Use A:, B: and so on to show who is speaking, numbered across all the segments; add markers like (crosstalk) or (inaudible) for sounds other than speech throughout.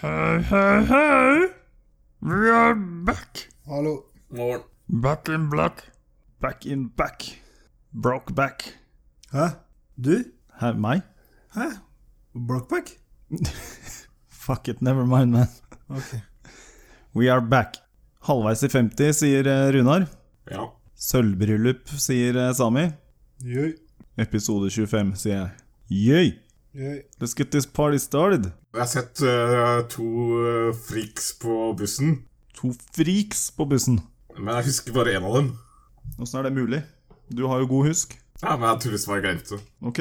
A: Hei, hei, hei! We are back!
B: Hallo.
C: Morgen.
A: Back in black. Back in back. Broke back.
B: Hæ? Du?
A: Hæ, meg?
B: Hæ? Blockback?
A: (laughs) Fuck it, never mind, man.
B: Ok.
A: We are back. Halvveis i 50, sier eh, Runar.
C: Ja.
A: Sølvbryllup, sier eh, Sami.
B: Jøy.
A: Episode 25, sier jeg. Yay!
B: Jøy.
A: Let's get this party started.
C: Jeg har sett eh, to eh, friks på bussen,
A: To freaks på bussen.
C: men jeg husker bare én av dem.
A: Åssen er det mulig? Du har jo god husk.
C: Ja, men jeg tror bare jeg glemte.
A: Ok.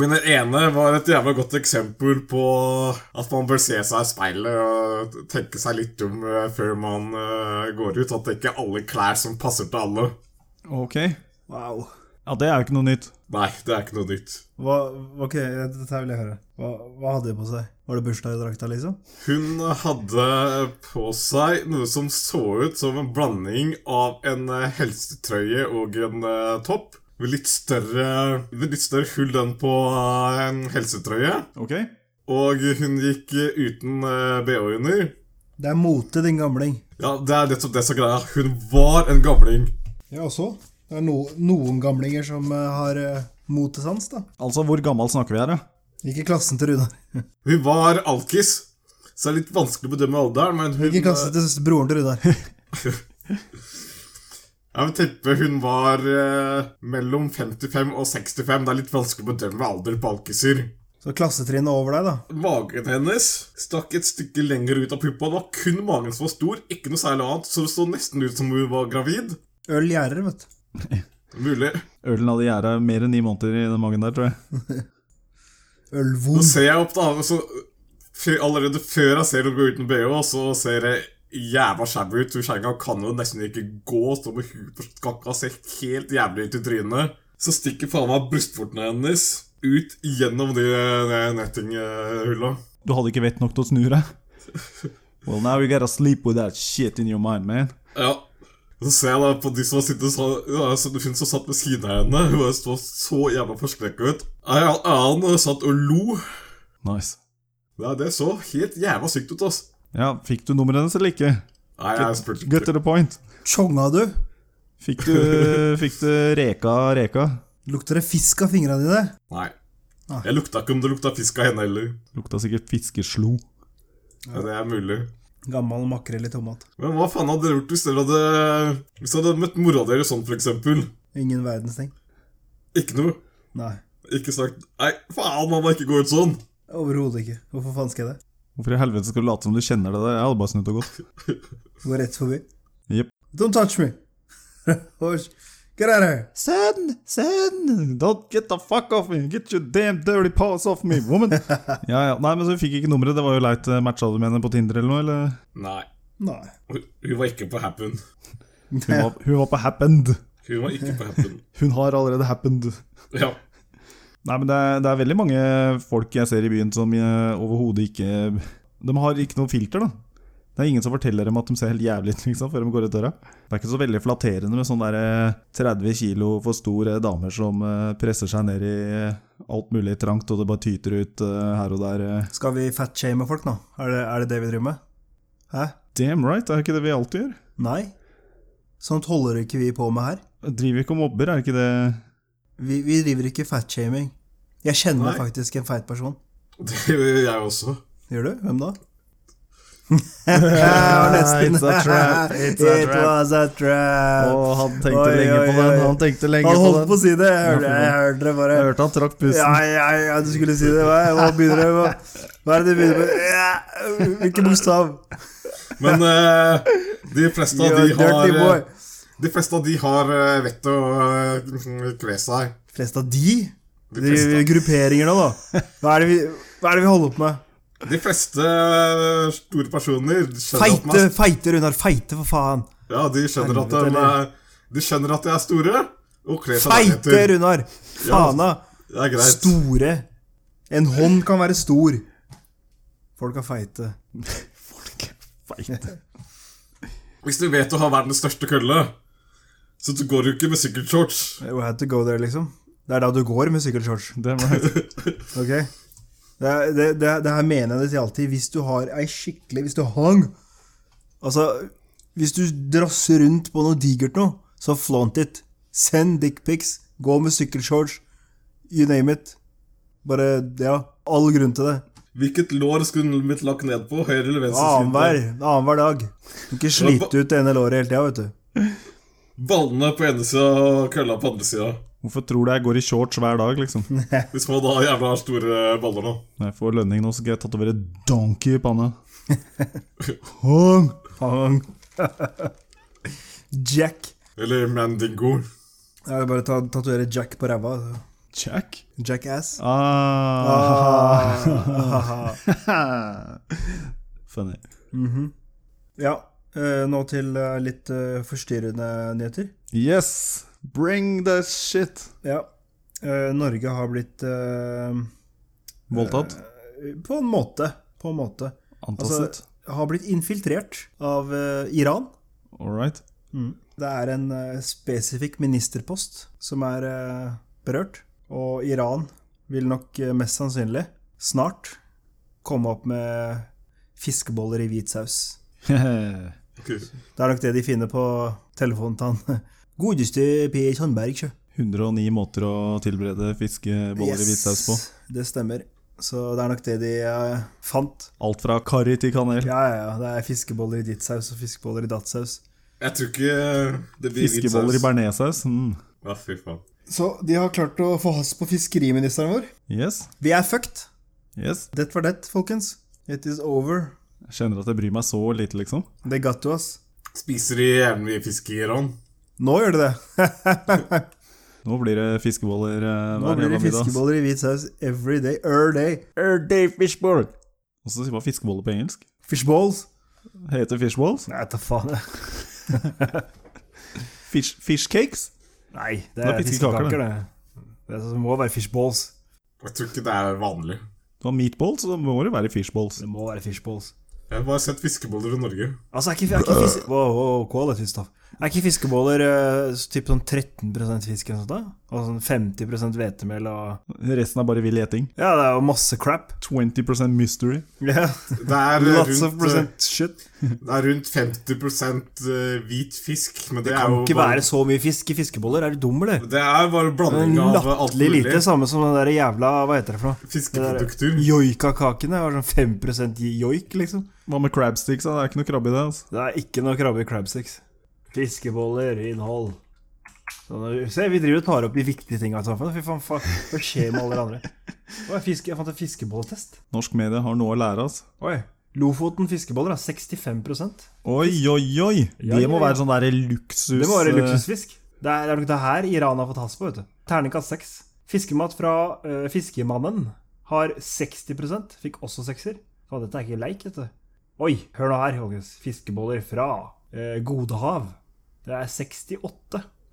C: Men den ene var et jævla godt eksempel på at man bør se seg i speilet og tenke seg litt om eh, før man eh, går ut. At det ikke er alle klær som passer til alle.
A: Ok.
B: Wow.
A: Ja, det er jo ikke noe nytt.
C: Nei, det er ikke noe nytt.
B: Hva, ok, dette her vil jeg høre. Hva, hva hadde de på seg? Var det bursdagsdrakta, liksom?
C: Hun hadde på seg noe som så ut som en blanding av en eh, helsetrøye og en eh, topp. Med litt større, med litt større hull enn på eh, en helsetrøye.
A: Ok.
C: Og hun gikk eh, uten eh, bh under.
B: Det er mote, din gamling.
C: Ja, det er nettopp det som er greia. Hun var en gamling.
B: Ja, også. Det er no, noen gamlinger som eh, har eh, motesans, da.
A: Altså, hvor gammel snakker vi her, da?
B: Ikke klassen til Runar.
C: Hun var alkis, så det er litt vanskelig å bedømme alderen, men hun
B: Ikke klassen til s- broren til (laughs) Runar.
C: eh, Jeg vil tippe hun var eh, mellom 55 og 65. Det er litt vanskelig å bedømme alder på alkiser.
B: Så klassetrinnet over deg, da.
C: Magen hennes stakk et stykke lenger ut av puppa. Det var kun magen som var stor, ikke noe særlig annet, så det så nesten ut som hun var gravid.
B: Øl gjerder, vet du.
C: Mulig.
A: Ølen hadde gjæra mer enn ni måneder i den magen der, tror jeg.
C: Nå
B: Ølvon.
C: ser jeg opp, da, og så f- Allerede før jeg ser hun gå uten bh, så ser det jævla shabby ut. Hun kjerringa kan jo nesten ikke gå, står med huet på skakka, ser helt jævlig ut i trynet. Så stikker faen meg brystvortene hennes ut gjennom de, de nettinghulla.
A: Du hadde ikke vett nok til å snu deg? Well, now you gotta sleep with that shit in your mind, man.
C: Ja. Så ser jeg da på de som har sittet så, ja, så Hun som satt ved siden av henne, hun bare så så jævla forskrekka ut. Ei annen satt og lo.
A: Nice.
C: Nei, det så helt jævla sykt ut, ass.
A: Ja, fikk du nummeret hennes eller ikke?
C: Nei, jeg spurte
A: Get
C: ikke.
A: to the point.
B: Tjonga du?
A: Fikk du, fikk du reka reka?
B: Lukter det fisk av fingrene dine?
C: Nei.
B: Nei.
C: Jeg lukta ikke om det lukta fisk av henne heller.
A: Lukta sikkert fiskeslo.
C: Ja, det er mulig.
B: Gammel makrell i tomat.
C: Men hva faen hadde dere gjort hvis dere hadde Hvis dere hadde møtt mora deres sånn, for eksempel?
B: Ingen verdens ting.
C: Ikke noe.
B: Nei.
C: Ikke sagt Nei, faen, mamma, ikke gå ut sånn.
B: Overhodet ikke. Hvorfor faen skal jeg det?
A: Hvorfor i helvete skal du late som du kjenner det der? Jeg hadde bare snudd og gått.
B: Gå rett forbi.
A: Jep.
B: Don't touch me! (laughs) Hosh. Get out of here!
A: Son, son, don't get the fuck off me! Get your damn dirty paws off me, woman! ja, ja. Nei, men så fikk ikke nummeret. Det var jo leit. Matcha du med henne på Tinder eller noe, eller?
C: Nei.
B: Nei.
C: Hun hun var ikke på happen.
A: Hun var, hun var på happened.
C: Hun var ikke på happen.
A: Hun har allerede happened.
C: Ja.
A: Nei, men det er, det er veldig mange folk jeg ser i byen som eh, overhodet ikke De har ikke noe filter, da. Det er ingen som forteller dem at de ser helt jævlig ut (laughs) liksom, før de går ut døra. Det er ikke så veldig flatterende med sånne der, eh, 30 kilo for store damer som eh, presser seg ned i eh, alt mulig trangt, og det bare tyter ut eh, her og der. eh.
B: Skal vi fatshame folk nå? Er det, er det det vi driver med? Hæ?
A: Damn right, er det ikke det vi alltid gjør?
B: Nei. Sånt holder ikke vi på med her.
A: Driver vi ikke og mobber, er det ikke det
B: Vi, vi driver ikke fatshaming. Jeg kjenner
C: Nei.
B: faktisk en feit person.
C: Det gjør jeg også.
B: Gjør du?
A: (laughs)
B: Hvem da? (laughs) Ja, nesten.
A: It's a trap, it's a
B: (laughs) It
A: trap.
B: was a
A: Å,
B: trap.
A: han tenkte
B: Eh, Oi,
A: lenge
B: oi,
A: på den!
B: oi.
A: Han tenkte lenge
B: Han
A: på
B: holdt
A: den!
B: på å si det.
A: Ja,
B: Jeg
A: for
B: hørte, jeg hørte det bare.
A: Jeg hørte han trakk pusten.
B: Ja, ja, ja, du skulle si det. Hva, hva begynner det med? Hva er det du begynner med? Ja, hvilken bokstav?
C: Men eh, de fleste av de
B: You're a
C: har
B: dirty boy.
C: eh, De fleste av de har eh, vett til å eh, kle seg.
B: Flest av de?
C: De
B: de
C: fleste,
B: grupperinger nå, da. Hva er det vi, hva er det vi holder på med?
C: de fleste eh, store personer skjønner at
B: Feite,
C: man,
B: feite, Runar. Feite, for faen.
C: ja, de skjønner at
B: Helvete,
C: de, eh, de skjønner at de er store, og kler seg
B: Feite,
C: deretter.
B: Runar. Fana.
C: Det er greit.
B: Store. En hånd kan være stor. Folk er feite.
A: Feit.
C: Hvis du vet du har verdens største kølle, så du går jo ikke med sykkelshorts.
B: We had to go there, liksom. Det er da du går med sykkelshorts.
A: Damn right.
B: Ok? Det, er- det, det, det her mener jeg det til alltid. Hvis du har ei skikkelig Hvis du hang Altså, hvis du drasser rundt på noe digert nå, så flaunt it. Send dickpics. Gå med sykkelshorts. You name it. Bare Ja. All grunn til det.
C: Hvilket lår skulle mitt lagt ned på? Høyre eller venstre? side?
B: Annenhver annenhver dag. Ikke slite ut det ene låret hele tida, vet du.
C: Ballene på ene sida og kølla på andre sida.
A: Hvorfor tror du jeg går i shorts hver dag, liksom?
C: Hvis man da har jævla store baller nå.
A: Når jeg får lønning nå, så skal jeg tatovere donkey i panna. (laughs)
B: Hang, hang. (laughs) Jack.
C: Eller Mandingo.
B: Jeg vil bare ta, tatovere Jack på ræva. altså.
A: Jack?
B: Jackass.
A: Ah. (laughs)
B: (laughs) Ah.
A: Funny.
B: ja, eh, nå til eh, litt eh, forstyrrende nyheter.
A: Yes! Bring the shit!
B: Ja. eh, Norge har blitt eh,
A: Voldtatt?
B: På en måte. På en måte. Altså,
A: Antastet?
B: Har blitt infiltrert av eh, Iran. Mm.
A: All right. (laughs)
B: Det er en eh, spesifikk ministerpost som er eh, berørt, og Iran vil nok eh, mest sannsynlig snart komme opp med fiskeboller i hvit saus.
C: Ok.
B: Det er nok det de finner på telefonen til han. (laughs) Godeste Per Sandberg, sjø.
A: 109 måter å tilberede fiskeboller i hvitsaus på.
B: Det stemmer. Så det er nok det de eh, fant.
A: Alt fra karri til kanel.
B: Ja, ja, ja. Det er fiskeboller i ditt saus og fiskeboller i datt saus.
C: Jeg tror ikke det blir hvit
A: Fiskeboller i
C: saus.
A: bearnéssaus. Mm.
C: Ja, fy faen.
B: Så de har klart å få has på fiskeriministeren vår.
A: Yes.
B: Vi er fucked.
A: yes.
B: Det var det, folkens. It is over.
A: Jeg kjenner at jeg bryr meg så lite, liksom.
B: They got to us.
C: Spiser de jævlig mye fisk i Iran?
B: Nå gjør de det! (laughs)
A: Nå blir det fiskeboller eh,
B: Nå
A: hver jævla
B: blir det
A: middag. ass.
B: fiskeboller i hvit saus every day. Er day.
A: Og så sier man fiskeboller på engelsk.
B: Fishballs.
A: Heter fishballs?
B: Nei, ta faen.
A: Fish, fishcakes?
B: Nei, det
A: er
B: er
A: fiskekaker,
B: fiskekaker, det. Det er- det må være fishballs.
C: Jeg tror ikke det er vanlig.
A: Du har meatballs, så må det være fishballs.
B: Det må være fishballs.
C: Jeg har bare sett fiskeboller i Norge.
B: Altså, er ikke, er ikke fiske... Wow, wow, quality stuff. Er ikke fiskeboller eh, typ sånn 13 fisk eller noe sånt? da? Og sånn 50 hvetemel og
A: Resten er bare vill gjeting.
B: Ja, det er jo masse crap.
A: 20 mystery.
B: (laughs) Yeah.
C: Det er
B: Lots of
C: rundt, eh,
B: percent shit.
C: det er rundt 50 eh, hvit fisk, men det,
B: Det
C: er
B: kan
C: jo
B: ikke
C: bare,
B: være så mye fisk i fiskeboller. Er du dum, eller?
C: Det er bare blanding av alt
B: Latterlig
C: mulig.
B: lite. Samme som den der jævla Hva heter det for noe?
C: Fiskeprodukter.
B: Joikakakene var sånn 5 joik, liksom.
A: Hva med crabsticks? da? Det er ikke noe krabbe i det. altså.
B: Det er ikke noe krabbe i crabsticks. Fiskeboller, innhold. Sånn, se, vi driver og tar opp de viktige tinga i samfunnet. Fy faen, fa- hva skjer med alle de andre? Å, jeg, fiske, jeg fant en fiskebolletest.
A: Norsk medie har noe å lære. Altså.
B: Oi. Lofoten fiskeboller er 65 Det
A: Oi, oi, oi!
B: Ja,
A: Det
B: ja,
A: må
B: ja.
A: være sånn der luksus...
B: må være
A: eh,
B: luksusfisk. Det er, det er nok det her Iran har fått has på, vet du. Terningkast 6. Fiskemat fra eh, Fiskemannen har 60 Fikk også sekser. Faen, dette er ikke leik, dette. Oi, hør nå her, folkens. Fiskeboller fra eh, Godehav. Det er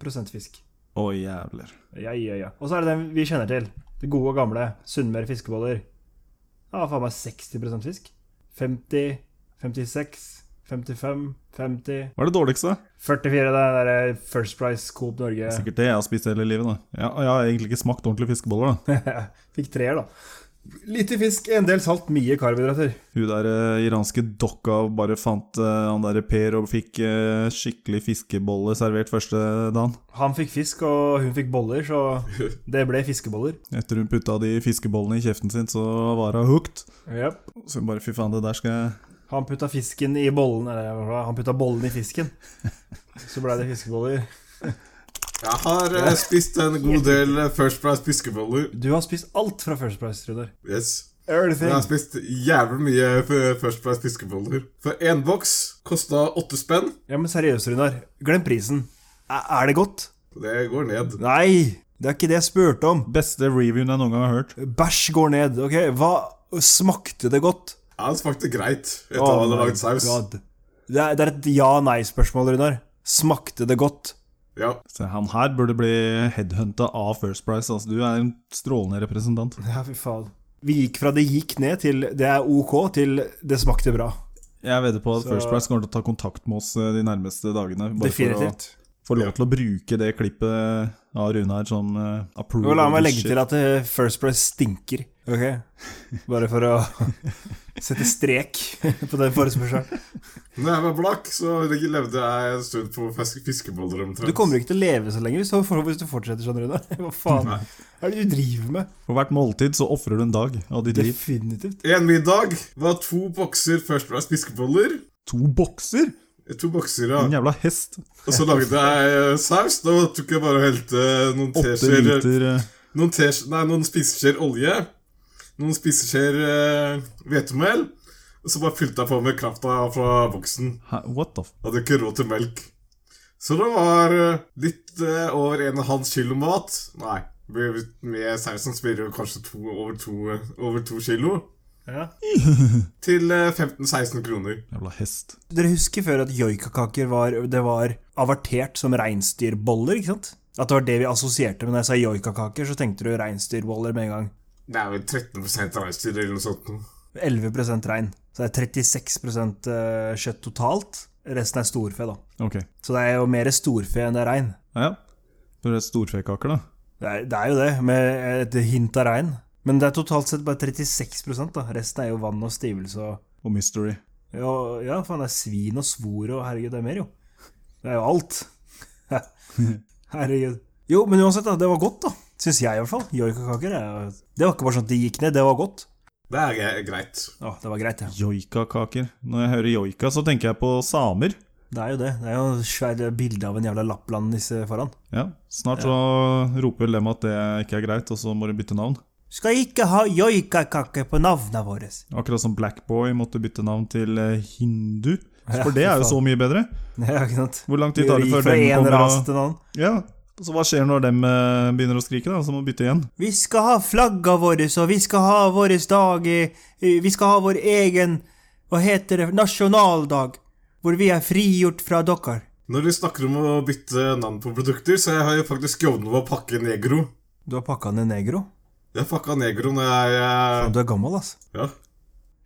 B: 68 fisk.
A: Å, jævler.
B: Ja, ja, ja. Og så er det den vi kjenner til. Det gode og gamle. Sunnmøre fiskeboller. Ja, faen meg 60 fisk. 50, 56, 55, 50
A: Hva er det dårligste?
B: 44, det er den der eh, First Price Coop Norge.
A: Sikkert det jeg har spist hele livet. da Jeg, jeg har egentlig ikke smakt ordentlige fiskeboller. da (laughs)
B: (laughs) Fikk treer, da. Lite fisk, en del salt, mye karbohydrater.
A: Hun der eh, iranske dokka bare fant eh, han derre Per og fikk eh, skikkelig fiskebolle servert første dagen.
B: Han fikk fisk, og hun fikk boller, så det ble fiskeboller.
A: Etter hun putta de fiskebollene i kjeften sin, så var hun hooked.
B: Jep.
A: Så hun bare fy faen, det der skal jeg
B: Han putta fisken i bollen, eller hva, han putta bollen i fisken. Så ble det fiskeboller.
C: Jeg har eh, spist en god del eh, First Price fiskeboller.
B: Du har spist alt fra First Price, Rudar.
C: Yes. Jeg har
B: Everything.
C: spist jævlig mye f- First Price fiskeboller. For én boks kosta åtte spenn.
B: Ja, men seriøst, Runar. Glem prisen. Er er det godt?
C: Det går ned.
B: Nei, det er ikke det jeg spurte om.
A: Beste reviewen jeg noen gang har hørt.
B: Bæsj går ned. Ok, hva Smakte det godt?
C: Ja, det smakte greit etter
B: Oh
C: at jeg hadde
B: my
C: lagd saus.
B: God. Det er, det er et ja-nei-spørsmål, Runar. Smakte det godt?
C: Ja.
A: Så han her burde bli headhunta av First Price. Altså, du er en strålende representant.
B: Ja, fy faen. Vi gikk fra det gikk ned til det er ok, til det smakte bra.
A: Jeg vedder på at
B: Så-
A: First Price kommer til å ta kontakt med oss eh, de nærmeste dagene. bare for å-
B: Definitivt.
A: får lov til å bruke det klippet av Runar som eh, approval.
B: Jo, la meg legge
A: shit.
B: til at eh, First Price stinker. (laughs) Ok? Bare for å (laughs) sette strek (laughs) på den forespørselen.
C: Når jeg var blakk, så levde jeg en stund på fiske fiskeboller omtrent.
B: Du kommer ikke til å leve så lenge hvis du hvis du fortsetter sånn, Rune. (laughs) Hva faen
C: Nei.
B: er det du driver med?
A: For hvert måltid så ofrer du en dag av ditt liv.
B: Definitivt.
C: En middag var to bokser First Price fiskeboller.
A: To bokser!
C: To bokser, ja.
A: En jævla hest.
C: Og så lagde jeg eh, saus. Da tok jeg bare og helte noen
A: Åtte
C: teskjeer
A: liter eh,
C: Noen, tes- nei, noen spiseskjeer olje, noen spiseskjeer eh, hvetemel, og så bare fylte jeg på med krafta fra boksen.
A: hæ, What the f...
C: Hadde ikke råd til melk. Så det var eh, litt eh, over en og en halv kilo mat. Nei, med, med sausen så blir det jo kanskje to, over, to, eh, over to kilo.
B: Ja.
C: (laughs) Til eh, 15-16 kroner.
A: Jævla hest.
B: Dere husker før at joikakaker var, det var avertert som reinsdyrboller, ikke sant? At det var det vi assosierte med når jeg sa joikakaker, så tenkte du reinsdyrboller med en gang.
C: Det er vel 13 reinsdyr eller noe sånt. nå.
B: 11 rein. Så det er 36 eh, kjøtt totalt. Resten er storfe, da.
A: Ok.
B: Så det er jo mer storfe enn det er rein.
A: Ja, ja. Det er storfekaker, da.
B: Det er, det er jo det, med et hint av rein. Men det er totalt sett bare 36 da. Resten er jo vann og stivelse og
A: Og mystery.
B: Ja, ja faen, det er svin og svor og herregud, det er mer, jo. Det er jo (laughs) alt. herregud. Jo, men uansett, da. Det var godt, da. Syns jeg, i hvert fall. Joikakaker. er- Det var ikke bare sånn at det gikk ned, det var godt.
C: Det er gre- greit.
B: Å, det var greit, ja.
A: Joikakaker. Når jeg hører joika, så tenker jeg på samer.
B: Det er jo det. Det er jo et svært bilde av en jævla Lappland-nisse foran.
A: Ja, Snart så roper dem at det ikke er greit, og så må de bytte navn.
B: Skal ikke ha joikakake på navna våre.
A: Akkurat som Blackboy måtte bytte navn til eh, hindu. For
B: Ja,
A: det er
B: for
A: jo så mye bedre.
B: (laughs) Ja, ikke sant?
A: Hvor lang tid tar det
B: gikk
A: før
B: fra
A: dem
B: en
A: kommer
B: ras
A: og
B: til en annen.
A: Ja, så hva skjer når dem eh, begynner å skrike, da? Så må de bytte igjen.
B: Vi skal ha flagga våre, og vi skal ha våre dag eh, eh, Vi skal ha vår egen Hva heter det? Nasjonaldag. Hvor vi er frigjort fra dere.
C: Når vi snakker om å bytte navn på produkter, så har jeg faktisk jobbet med å pakke Negro.
B: Du har pakka ned negro?
C: Jeg pakka Negro når jeg eh,
B: Du er gammel, ass.
C: Ja.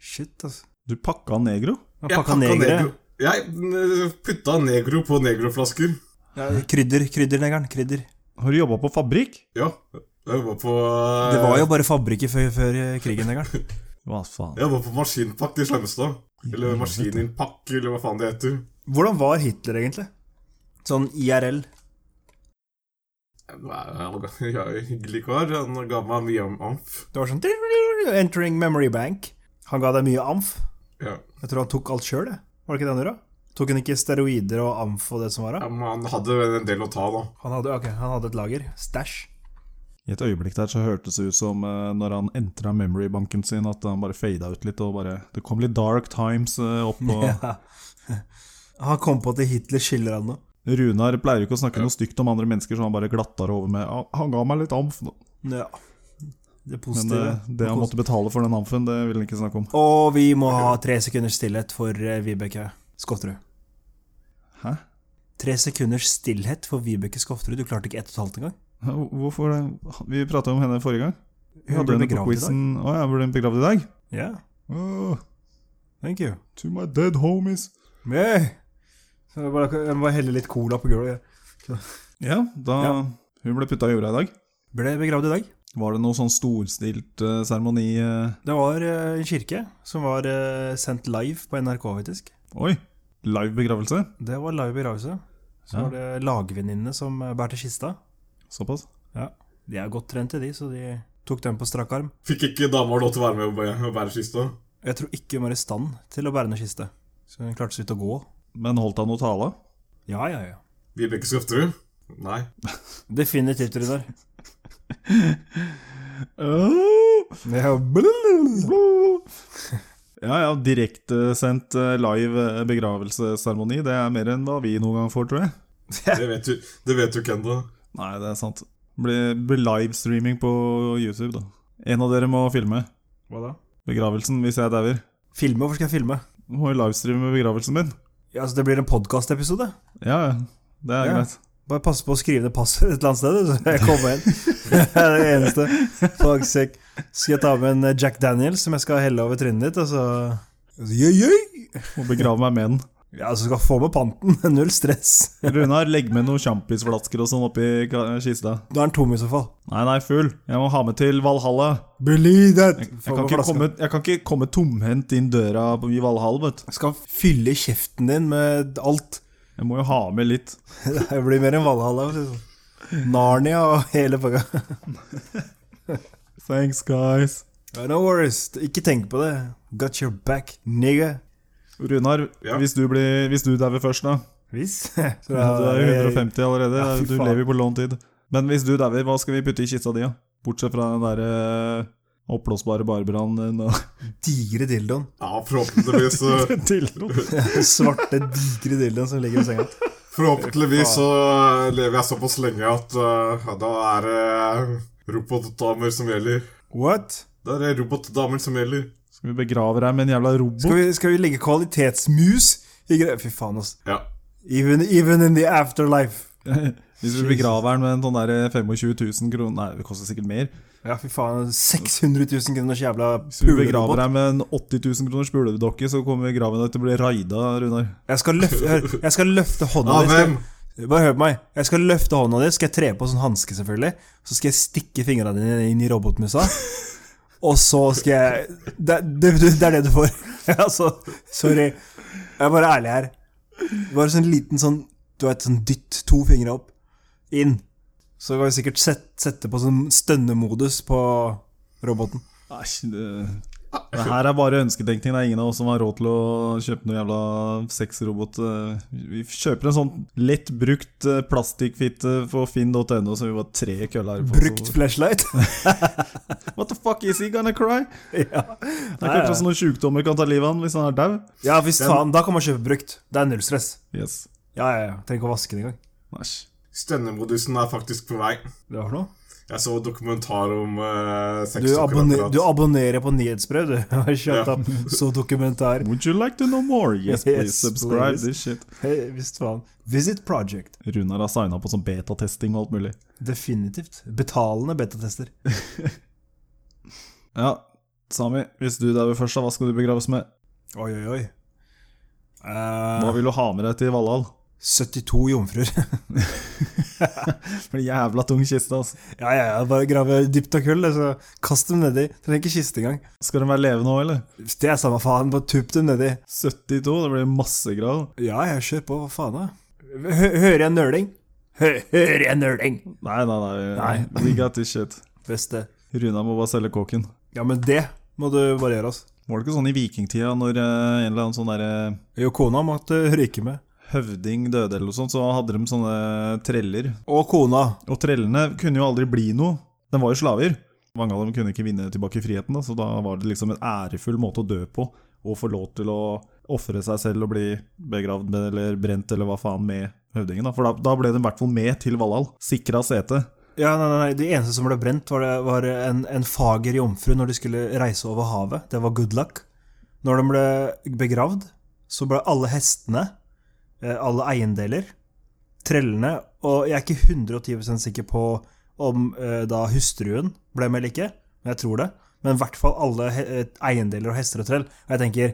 B: Shit, ass.
A: Du pakka negro?
B: Du
C: Jeg
B: har pakka negre.
C: Jeg eh, putta Negro på Negroflasker.
B: Ja, krydder, kryddernegeren. Krydder.
A: Har du jobba på fabrikk?
C: Ja. Jeg jobba på eh,
B: Det var jo bare fabrikker før, før eh, krigen, negeren.
A: Hva faen?
C: Jeg jobba på maskinpakk i Slemmestad. Eller Maskininnpakk, eller hva faen det heter.
B: (laughs) Hvordan var Hitler, egentlig? Sånn IRL.
C: Nå er (laughs) jeg- Jeg er jo en hyggelig kar. Han ga meg mye om amf.
B: Det var sånn Entering memory bank. Han ga deg mye amf.
C: Ja.
B: Jeg tror han tok alt sjøl, jeg. Var det ikke det han gjorde? Tok han ikke steroider og amf og det som var?
C: Ja,
B: da?
C: men Han hadde en del å ta, da.
B: Han hadde, ok, han hadde et lager. Stæsj.
A: I et øyeblikk der så hørtes det ut som eh, når han entra memory-banken sin, at han bare fada ut litt og bare Det kom litt dark times eh, opp og
B: (laughs) Ja. Han kom på at Hitler skylder han noe.
A: Runar pleier jo ikke å snakke noe stygt om andre mennesker, så han bare glattar over med «Ah, Han ga meg litt amf, da.
B: Ja. eh, Det
A: Men
B: positive.
A: det, det han måtte betale for den amfen, det vil han ikke snakke om.
B: Og vi må ha tre sekunders stillhet for eh, Vibeke Skofterud.
A: Hæ?
B: Tre sekunders stillhet for Vibeke Skofterud. Du klarte ikke ett og et halvt engang.
A: Hvorfor det? Vi prata om henne forrige gang. Vi
B: Hun
A: hadde
B: ble
A: henne på
B: begravd i
A: quizen. Å ja, ble hun begravd i dag?
B: Ja,
A: Åh,
B: thank you.
A: to my dead homies.
B: Yeah. Så jeg, bare, jeg må bare helle litt cola på gulvet.
A: Ja, da
B: Ja.
A: Hun ble putta i jorda i dag.
B: Ble begravd i dag.
A: Var det noe sånn storstilt eh, seremoni eh?
B: Det var eh, en kirke som var eh, sendt live på NRK, faktisk.
A: Oi! Live begravelse?
B: Det var live begravelse. Så
A: Ja.
B: var det lagvenninnene som eh, bærte kista.
A: Såpass?
B: De er godt trente, de, så de tok den på strak arm.
C: Fikk ikke dama lov til å være med og bæ- og bære kista.
B: Jeg tror ikke hun var i stand til å bære ned kiste. Så hun klarte seg ut og gå.
A: Men holdt han noe tale?
B: Ja, ja, ja.
C: Vibeke Skofterud? Nei.
B: Definitivt, Runar.
A: Åh!
B: Ja,
A: Ja ja, direktesendt eh, live eh, begravelsesseremoni, det er mer enn hva vi noen gang får, tror jeg.
C: Det vet du, det vet du ikke ennå.
A: Nei, det er sant. Blir blir livestreaming på YouTube, da. En av dere må filme
B: Hva da?
A: begravelsen hvis jeg dauer.
B: Filme? Hvorfor skal jeg filme?
A: Du Må jo livestreame begravelsen min.
B: Ja, altså, Det blir en podkastepisode.
A: Ja, ja. Det er
B: Ja.
A: greit.
B: Bare passe på å skrive ned passet et eller annet sted, så jeg kommer inn. Det er det eneste. Fuck sake. Skal jeg ta med en Jack Daniels som jeg skal helle over trynet ditt, og så
A: Må begrave meg med den.
B: Ja, så skal få med panten. Null stress.
A: Runar, legg med noen sjampisflasker og sånn oppi ka- kista.
B: Da er den tom i så fall.
A: Nei, nei, full. Jeg må ha med til Valhalla.
B: Believe that!
A: Jeg kan, ikke komme, jeg kan ikke komme tomhendt inn døra på- i Valhall, vet du.
B: Skal fylle kjeften din med alt. (laughs)
A: Jeg må jo ha med litt.
B: Det blir mer enn Valhalla. for å si det sånn. Narnia og hele pakka.
A: Thanks, guys.
B: No worries. Ikke tenk på det. Got your back, nigga.
A: Runar,
C: Ja.
A: hvis du, blir, hvis du dauer først, da
B: Hvis. (laughs) Så
A: Ja, du er jo
B: jeg-
A: 150 allerede.
B: Ja, fy
A: du
B: faen.
A: lever jo på lånt tid. Men hvis du dauer, hva skal vi putte i kista di, da? Bortsett fra den derre oppblåsbare eh, barbrannen og
B: Digre dildoen. (laughs)
C: Ja, forhåpentligvis så
B: Den svarte, digre dildoen som ligger i senga.
C: Forhåpentligvis så lever jeg såpass lenge at eh, ja, da er det eh, robotdamer som gjelder.
B: What?
C: Da er det robotdamer som gjelder.
A: Skal vi begrave deg med en jævla robot?
B: Skal vi, skal vi legge kvalitetsmus i gre... Fy faen, altså.
C: Ja.
B: Even, even in the afterlife.
A: Hvis vi begraver den med en sånn der 25 000 kroner Nei, det koster sikkert mer.
B: Ja, fy faen. 600 000 kroners jævla
A: Hvis vi begraver
B: pulerobot.
A: deg med en 80 000 kroners puledokke, så kommer graven din til å bli raida, Runar.
B: Jeg skal løfte, hør, jeg skal løfte hånda
C: Av
B: di.
C: hvem?
B: skal- Bare hør på meg. Jeg skal løfte hånda di, skal jeg tre på sånn hanske, selvfølgelig. Så skal jeg stikke fingrene dine inn i (laughs) robotmusa. Og så skal jeg Det, det, det er det du får. (laughs) altså, sorry. Jeg er bare ærlig her. Bare sånn liten sånn Du vet, sånn dytt to fingre opp. Inn. Så kan vi sikkert set, sette på sånn stønnemodus på roboten.
A: Æsj, det, Ah, det her er bare ønsketenkning. Det er ingen av oss som har råd til å kjøpe noe jævla sexrobot. eh. Vi kjøper en sånn lett brukt eh, plastikkfitte på finn.no som vi bare tre køller på.
B: Brukt
A: så-
B: flashlight. (laughs)
A: What the fuck is he gonna cry? Det
B: ja.
A: er kanskje
B: sånn-
A: noen sjukdommer kan ta livet av han hvis han er dau.
B: ja, hvis faen. Da kan man kjøpe brukt. Det er null stress.
A: Yes.
B: Ja, ja, ja. Trenger ikke å vaske det engang.
A: Æsj.
C: Stønnemodusen er faktisk på vei.
B: Det var for noe?
C: Jeg så dokumentar om uh, sex.
B: Du, abonner- du
C: akkurat.
B: abonnerer på nyhetsbrev, du. (laughs) Shut
C: Ja.
B: up. Så dokumentar.
A: Would you like to know more?
B: (laughs)
A: Yes, please.
B: Yes,
A: Subscribe
B: please.
A: this shit.
B: Hey, Visst faen. Visit Project.
A: Runar har signa på som betatesting og alt mulig.
B: Definitivt. Betalende betatester.
A: Ja, Sami, hvis du dauer først, da, hva skal du begraves med?
B: Oi, oi, oi. Eh,
A: Hva vil du ha med deg til Valhall?
B: 72 jomfruer. (laughs)
A: Det blir jævla tung kiste, altså.
B: ja, ja, ja. Bare grave dypt og kull, så kast dem nedi. Trenger ikke kiste engang.
A: Skal den være levende òg, eller?
B: Det er samme faen, bare tup dem nedi.
A: 72, det blir masse grav.
B: Ja, jeg kjør på, hva faen da? Hø hører jeg nøling? Hø hører jeg nøling?
A: Nei, nei, nei.
B: Nei.
A: We got this shit.
B: Beste.
A: Runa må bare selge kåken.
B: Ja, men det må du bare gjøre, altså.
A: Var det ikke sånn i vikingtida, når eh, en eller annen sånn derre
B: Jo, kona måtte ryke med.
A: høvding døde eller noe sånt, så hadde de sånne treller.
B: Og kona.
A: Og trellene kunne jo aldri bli noe. De var jo slaver. Mange av dem kunne ikke vinne tilbake friheten, da, så da var det liksom en ærefull måte å dø på. Og få lov til å ofre seg selv og bli begravd med, eller brent eller hva faen med høvdingen. Da. For da, da ble de i hvert fall med til Valhall. Sikra sete.
B: Ja, nei, nei, nei, De eneste som ble brent, var, det, var en, en fager jomfru når de skulle reise over havet. Det var good luck. Når de ble begravd, så ble alle hestene, eh, alle eiendeler, trellene Og jeg er ikke 110 sikker på om eh, da hustruen ble med eller ikke, men jeg tror det. Men i hvert fall alle he eh, eiendeler og hester og trell. Og jeg tenker,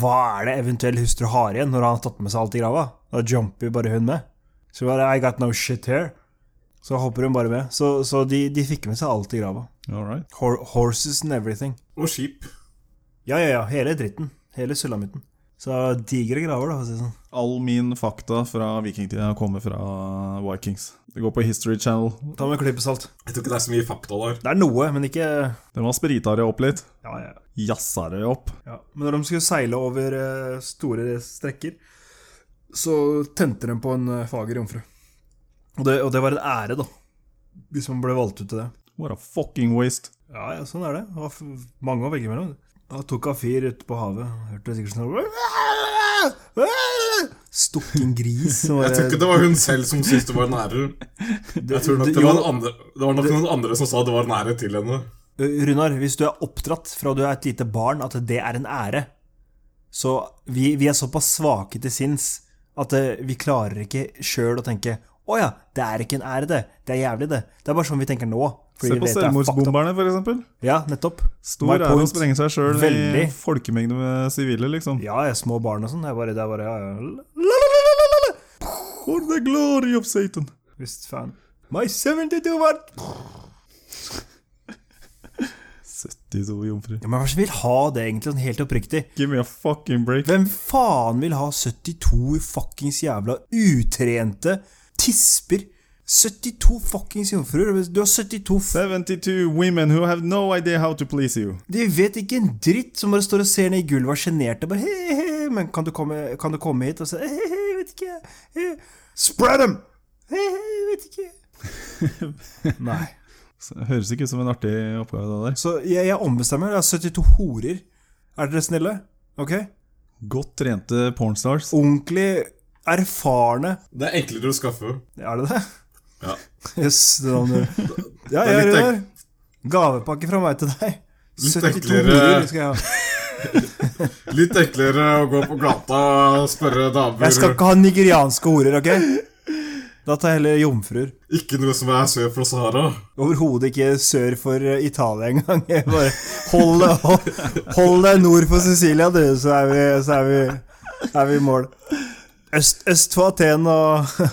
B: hva er det eventuell hustru har igjen når han har tatt med seg alt i grava? Da jumper jo bare hun med. Så bare, I got no shit here. Så hopper hun bare med. Så, så de, de fikk med seg alt i grava.
A: All right.
B: Hor horses and everything.
C: Og skip.
B: Ja, ja, ja. Hele dritten. Hele sulamitten. Så digre graver, da, for å si det sånn.
A: All min fakta fra vikingtida kommer fra Vikings. Det går på History Channel.
B: Ta med en klype salt.
C: Jeg tror ikke det er så mye fakta der.
B: Det er noe, men ikke Ja,
A: Den var spritare opp litt.
B: ja.
A: Jazzare opp.
B: ja. Men når de skulle seile over eh, store strekker, så tente de på en eh, fager jomfru. Og det, og det var en ære, da. Hvis man ble valgt ut til det.
A: What a fucking waste.
B: Ja, ja, sånn er det. Det var f- mange å velge mellom. Han tok av fyr ute på havet. Hørte sikkert sånn Stukk en gris. og-
C: Jeg tror ikke det var hun selv som syntes det var en ære. Jeg tror nok det, var
B: jo,
C: noen andre, det var nok noen andre som sa det var en ære til henne.
B: Runar, hvis du er oppdratt fra du er et lite barn at det er en ære Så vi, vi er såpass svake til sinns at eh, vi klarer ikke sjøl å tenke Å ja, det er ikke en ære, det. Det er jævlig, det. Det er bare sånn vi tenker nå.
A: Se på
B: vet jeg er fucked up.
A: selvmordsbomberne, f.eks.
B: Ja, nettopp.
A: Stor
B: My
A: ære å
B: point.
A: sprenge seg sjøl i
B: Veldig.
A: folkemengde med sivile, liksom.
B: Ja, jeg er små barn og sånn. Jeg bare, det er bare ja, ja.
A: For the glory of Satan.
B: Visst faen. My 72 var
A: 70 så jomfru.
B: Ja, Men hvem vil ha det, egentlig? Sånn helt oppriktig.
A: Give me a fucking break.
B: Hvem faen vil ha 72 fuckings jævla utrente tisper? 72 fuckings jomfruer. Du har 72 f...
A: 72 women who have no idea how to please you.
B: De vet ikke en dritt, som bare står og ser ned i gulvet og er sjenerte. Bare he, he, he, men kan du komme, kan du komme hit? Og så he, he, he, jeg vet ikke. He. Spread them! He, he, jeg vet ikke. Nei.
A: Så det Høres ikke ut som en artig oppgave, det der.
B: Så jeg, jeg ombestemmer. Jeg har 72 horer. Er dere snille? Ok?
A: Godt trente pornstars.
B: Ordentlig erfarne
C: Det er enklere å skaffe.
B: Er det det?
C: Ja.
B: (laughs) Yes, det var det. Ja,
C: Det
B: jeg
C: er
B: er
C: litt
B: der. Gavepakke fra meg til deg.
C: Litt
B: 72
C: enklere.
B: horer skal jeg ha.
C: Litt enklere å gå på gata og spørre damer
B: Jeg skal ikke ha nigerianske horer, ok? Da tar jeg heller jomfruer.
C: Ikke noe som er sør for Sahara.
B: Overhodet ikke sør for eh, Italia engang. Jeg bare hold deg- hold- Hold deg nord for Sicilia, du, så er vi, så er vi, er vi i mål. Øst, øst for Aten og, (laughs)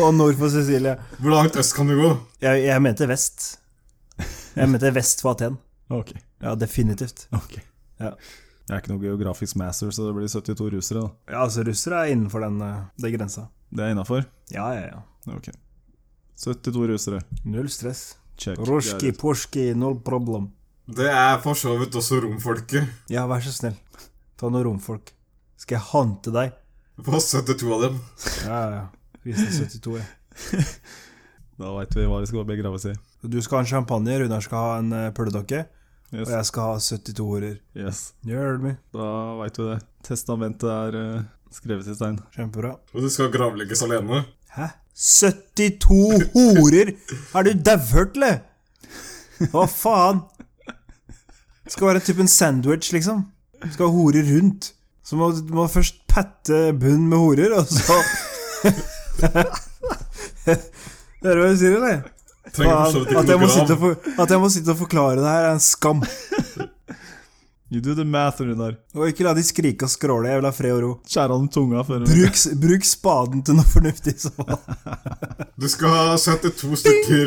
B: og nord for Sicilia.
C: Hvor langt øst kan du gå?
B: Jeg, jeg mente vest. Jeg mente vest for Aten.
A: Ok,
B: Ja, definitivt.
A: (laughs) ok.
B: Ja.
A: Jeg er ikke noe geografisk master, så det blir 72 russere, da.
B: Ja, altså russere er innenfor den, eh, den grensa.
A: Det er innafor?
B: Ja, ja, ja.
A: Ok. 72 russere.
B: Null stress.
A: Check. Det
B: Roski,
A: er det.
B: porski, null problem.
C: Det er for så vidt også romfolket.
B: Ja, vær så snill. Ta noen romfolk. Skal jeg hante deg?
C: På 72 av dem.
B: Ja, ja, ja. Vise deg 72, jeg.
A: Da veit vi hva vi skal begraves i.
B: Du skal ha en champagne, Runar skal ha en eh, pøledokke, og
A: Yes.
B: jeg skal ha 72 horer.
A: yes.
B: Gjør det med.
A: Da veit vi det. Testamentet er eh, skrevet i stein.
B: Kjempebra.
C: Og du skal gravlegges alene.
B: Hæ? 72 horer?! Er du dauhørt, eller? Hva faen? Det skal være typ en sandwich, liksom. Du skal ha horer rundt. Så må du må først patte bunnen med horer, og så (laughs) Hører du hva jeg sier, eller?
C: Trenger for så vidt
B: at,
C: ikke
B: jeg må
C: noe
B: sitte og
C: grav.
B: for, at jeg må sitte og forklare det her, er en skam.
A: You do the math, Runar.
B: Og ikke la de skrike og skråle. Jeg vil ha fred og ro.
A: Skjær av den tunga før du
B: Bruk, bruk spaden til noe fornuftig. i Så. fall.
C: Du skal ha 72 stykker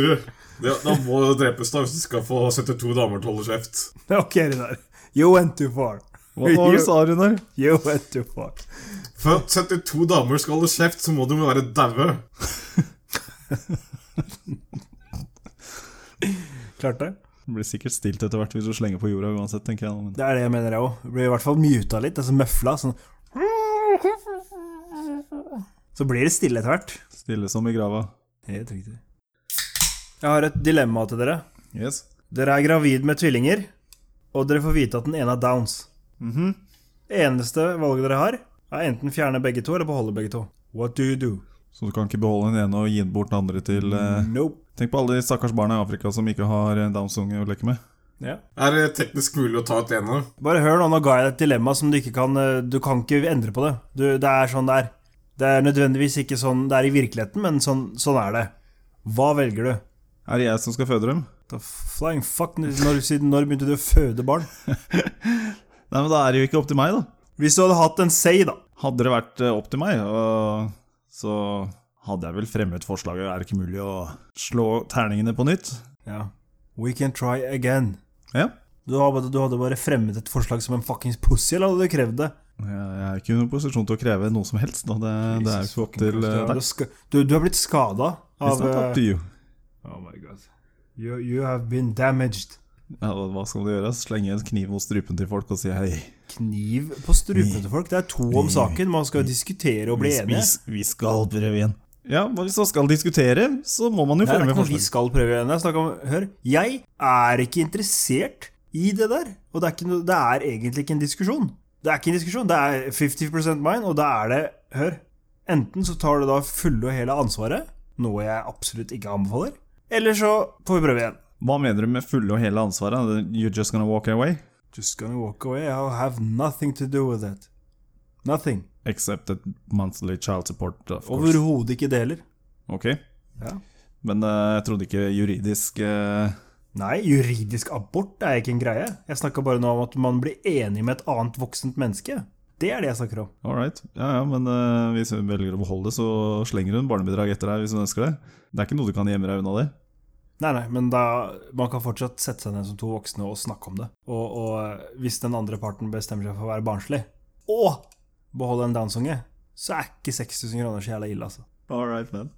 C: ja, Da må du drepes, da, hvis du skal få 72 damer til å holde kjeft.
B: (laughs) Ok, Runar. You went too far.
A: Hva var det du sa, Runar?
B: You went too far.
C: For at 72 damer skal holde kjeft, så må du være daue.
B: Klarte det?
A: Det blir sikkert stilt etter hvert hvis du slenger på jorda uansett, tenker jeg. nå, Men
B: Det er det jeg mener, jeg òg. Blir i hvert fall muta litt. Altså møfla. Sånn. Så blir det stille etter hvert.
A: stille som i grava.
B: Helt riktig. Jeg har et dilemma til dere.
A: Yes.
B: Dere er gravid med tvillinger, og dere får vite at den ene har downs. Eneste valget dere har, er enten fjerne begge to eller beholde begge to. What do you do?
A: Så du kan ikke beholde den ene og gi den bort den andre til eh,
B: Nope.
A: Tenk på alle de stakkars barna i Afrika som ikke har eh, Downs unge å leke med.
B: Ja.
C: Er det teknisk mulig å ta ut ene?
B: Bare hør nå, nå ga jeg deg et dilemma som du ikke kan eh, Du kan ikke endre på det. Du, det er sånn det er. Det er nødvendigvis ikke sånn det er i virkeligheten, men sånn, sånn er det. Hva velger du?
A: Er det jeg som skal føde dem?
B: The flying fuck, når, siden når begynte du å føde barn?
A: Nei, men Da er det jo ikke opp til meg, da.
B: Hvis du hadde hatt en say, da.
A: Hadde det vært eh, opp til meg, og så hadde jeg vel fremmet forslaget. Er det ikke mulig å slå terningene på nytt?
B: Ja. We can try again.
A: Ja.
B: Du hadde, du hadde bare fremmet et forslag som en fuckings pussy, eller hadde du krevd det?
A: Jeg jeg er ikke i noen posisjon til å kreve noe som helst. Da. Det, det er jo ikke opp til eh,
B: Ja, du,
A: deg.
B: ska- du, du har blitt skada
A: It's
B: av
A: not up to
B: eh,
A: you.
B: Oh my god. You, you have been damaged.
A: Ja, hva hva skal du gjøre? Slenge en kniv mot strupen til folk og si hei?
B: Kniv på strupen til folk. Det er to om saken. Man skal jo diskutere og bli
A: Vi-
B: enige.
A: Vi, vi skal prøve igjen. Ja, men hvis man skal diskutere, så må man jo
B: Nei, det er
A: fremme
B: ikke noe vi
A: forslag.
B: skal prøve igjen. Jeg snakker om, hør, jeg er ikke interessert i det der. Og det er, ikke noe, det er egentlig ikke en diskusjon. Det er ikke en diskusjon. Det er 50 mine, og da er det Hør. Enten så tar du da fulle og hele ansvaret, noe jeg absolutt ikke anbefaler, eller så får vi prøve igjen.
A: Hva mener du med fulle og hele ansvaret? You're just gonna walk away?
B: Just gonna walk away. I have nothing to do with it. Nothing.
A: Except a monthly child support, of course.
B: Overhodet ikke det heller.
A: Ok.
B: Ja.
A: Men eh, jeg trodde ikke juridisk eh,
B: Nei, juridisk abort er ikke en greie. Jeg snakka bare nå om at man blir enig med et annet voksent menneske. Det er det jeg snakker om.
A: All right. Ja, ja, men eh, hvis hun velger å beholde det, så slenger hun barnebidrag etter deg hvis hun ønsker det. Det er ikke noe du kan gjemme deg unna det.
B: Nei, nei, men da, man kan fortsatt sette seg ned som to voksne og snakke om det. Og, og hvis den andre parten bestemmer seg for å være barnslig, og beholde en Downs-unge, så er ikke 6000 kroner så jævla ille, altså.
A: All right, man.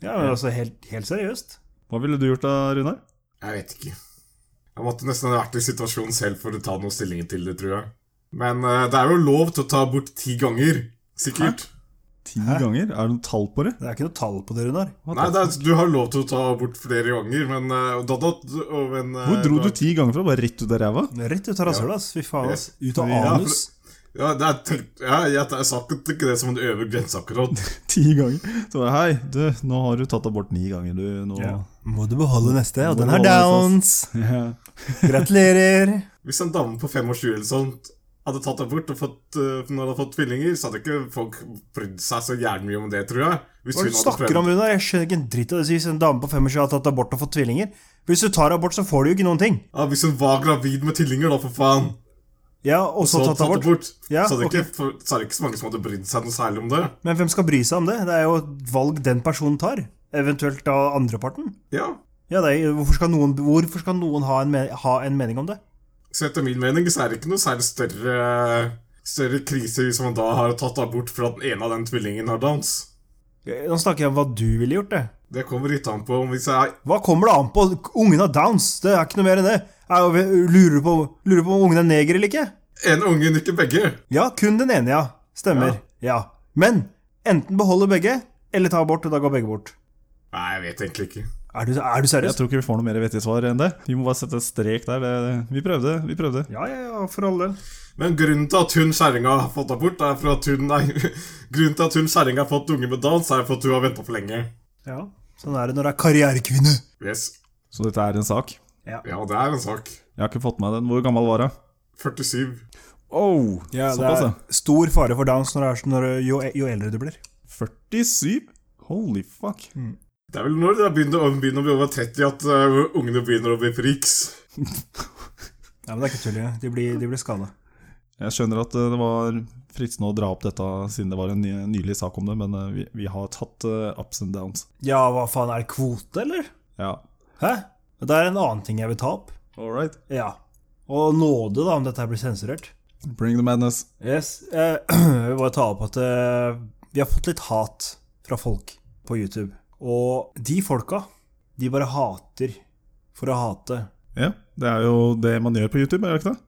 B: Ja, men altså, helt, helt seriøst.
A: Hva ville du gjort da, Runar?
C: Jeg vet ikke. Jeg måtte nesten ha vært i situasjonen selv for å ta noen stilling til det, tror jeg. Men eh, det er jo lov til å ta abort ti ganger, sikkert.
A: Ti ganger? Er det noen tall på det?
B: Det er ikke noe tall på det, Runar.
C: Nei, det er, du har lov til å ta abort flere ganger, men eh, da, da, og, men, eh,
A: Hvor dro
C: da-
A: du ti ganger fra? Bare rett ut av ræva?
B: Rett ut av rasshølet, ass. Fy faen, ass. Ut av
C: Ja, for-
B: anus.
C: Ja, det er, tenkt- ja, jeg, jeg sa ikke ikke det som en øvre grense akkurat.
A: (laughs) Ti ganger? Så bare hei, du, nå har du tatt abort ni ganger, du. Nå.
B: Ja. Må du beholde neste, og den har
A: beholde neste,
B: downs. (laughs)
A: Ja.
B: Gratulerer.
C: Hvis en dame på 25 eller sånt hadde tatt abort og fått, eh, når hun hadde fått tvillinger, så hadde ikke folk brydd seg så jævlig mye om det, tror jeg. Hvis
B: Hva er det
C: hun
B: du
C: hadde
B: snakker om, Runar? Jeg skjønner ikke en dritt av det. Hvis en dame på 25 har tatt abort og fått tvillinger Hvis du tar abort, så får du jo ikke noen ting.
C: Ja, hvis hun var gravid med tvillinger, da, for faen,
B: Ja, og så tatt abort. Ja,
C: så, hadde
B: ok.
C: ikke, for, så hadde ikke så mange som hadde brydd seg noe særlig om det.
B: Men hvem skal bry seg om det? Det er jo et valg den personen tar. Eventuelt da andreparten.
C: Ja.
B: Ja, det er, hvorfor skal noen, hvorfor skal noen ha, en me ha en mening om det?
C: Så etter min mening så er det ikke noe særlig større, større krise hvis man da har tatt abort for at en av den tvillingen har downs.
B: Nå snakker jeg om hva du ville gjort, det.
C: Det kommer litt an på om hvis jeg
B: Hva kommer det an på? Ungen har downs, det er ikke noe mer enn det. Er jo- Lurer du på, lurer du på om ungen er neger eller ikke?
C: En ungen, ikke begge.
B: Ja, kun den ene, ja. Stemmer. Ja. Men enten beholde begge, eller ta abort, og da går begge bort.
C: Nei, jeg vet egentlig ikke.
B: Er du, er du
A: (laughs) Jeg
B: seriøs?
A: tror ikke vi får noe mer vettig svar enn det. Vi må bare sette en strek der. Det, vi prøvde, vi prøvde.
B: Ja, ja, ja, for all del.
C: Men grunnen til at hun kjerringa har fått abort, er for at hun Nei, (laughs) grunnen til at hun kjerringa har fått unge med Downs, er for at hun har venta for lenge.
B: Ja, Sånn er det når du er karrierekvinne.
C: Yes.
A: Så dette er en sak.
C: Ja, det er en sak.
A: Jeg har ikke fått med meg den. Hvor gammel var hun?
C: 47.
A: Oh, såpass, ja.
B: stor fare for downs når det er sånn når, jo, jo eldre du blir.
A: 47? Holy fuck.
C: Det er vel når det begynner å, begynner å bli over 30 at eh, ungene begynner å bli freaks.
B: Ja, men Det er ikke tull, ja. de blir, de blir skada.
A: Jeg skjønner at eh, det var fristende å dra opp dette siden det var en ny, nylig sak om det, men eh, vi, vi har tatt eh, ups and downs.
B: Ja, hva faen, er det kvote, eller?
A: Ja,
B: Hæ? Det er en annen ting jeg vil ta opp.
A: all right.
B: Ja. Og nåde, da, om dette her blir sensurert.
A: Bring the madness.
B: Yes. Eh, (clears throat) jeg vil bare ta opp at eh, vi har fått litt hat fra folk på YouTube. Og de folka, de bare hater for å hate.
A: Ja, det er jo det man gjør på YouTube, er det ikke det?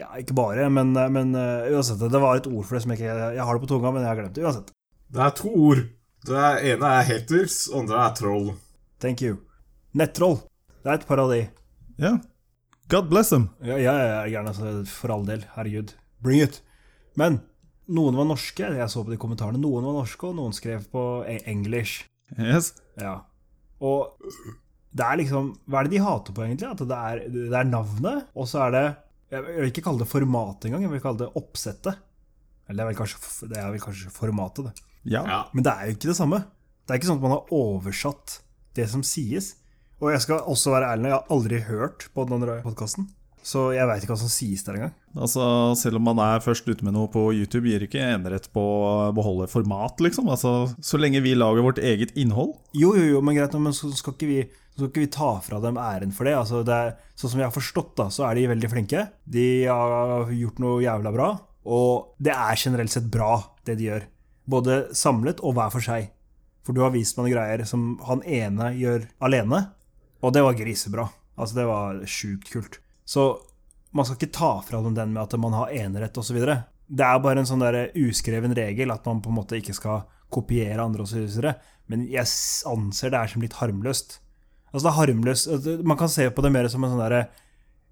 B: Ja, ikke bare, men, men eh, uansett. Det var et ord for det som jeg ikke Jeg har det på tunga, men jeg har glemt det. Uansett.
C: Det er to ord. Det ene er haters, andre er troll.
B: Thank you. Nettroll. Det er et parodi.
A: Ja. God bless them.
B: Ja, ja, ja gjerne. altså, For all del. Herregud. Bring it. Men noen var norske, jeg så på de kommentarene. Noen var norske, og noen skrev på e- English.
A: Yes.
B: Ja. Og det er liksom Hva er det de hater på, egentlig? At det er, det er navnet, og så er det Jeg jeg vil ikke kalle det formatet engang, jeg vil kalle det oppsettet. Eller det er vel kanskje, f- det er vel kanskje formatet, det.
A: Ja.
C: Ja.
B: Men det er jo ikke det samme. Det er ikke sånn at man har oversatt det som sies. Og jeg skal også være ærlig, jeg har aldri hørt på den andre podkasten. Så jeg veit ikke hva som sies der engang.
A: Altså, selv om man er først ute med noe på YouTube, gir ikke enerett på å beholde format, liksom. Altså, så lenge vi lager vårt eget innhold.
B: Jo, jo, jo, men greit, men så skal ikke vi, så skal ikke vi ta fra dem æren for det. Altså, det er, sånn som jeg har forstått, da, så er de veldig flinke. De har gjort noe jævla bra, og det er generelt sett bra, det de gjør. Både samlet og hver for seg. For du har vist meg noen greier som han ene gjør alene, og det var grisebra. Altså, det var sjukt kult. Så man skal ikke ta fra dem den med at man har enerett osv. Det er bare en sånn der uskreven regel at man på en måte ikke skal kopiere andre osv. Men jeg s- anser det er som litt harmløst. Altså det er harmløst Man kan se på det mer som en sånn derre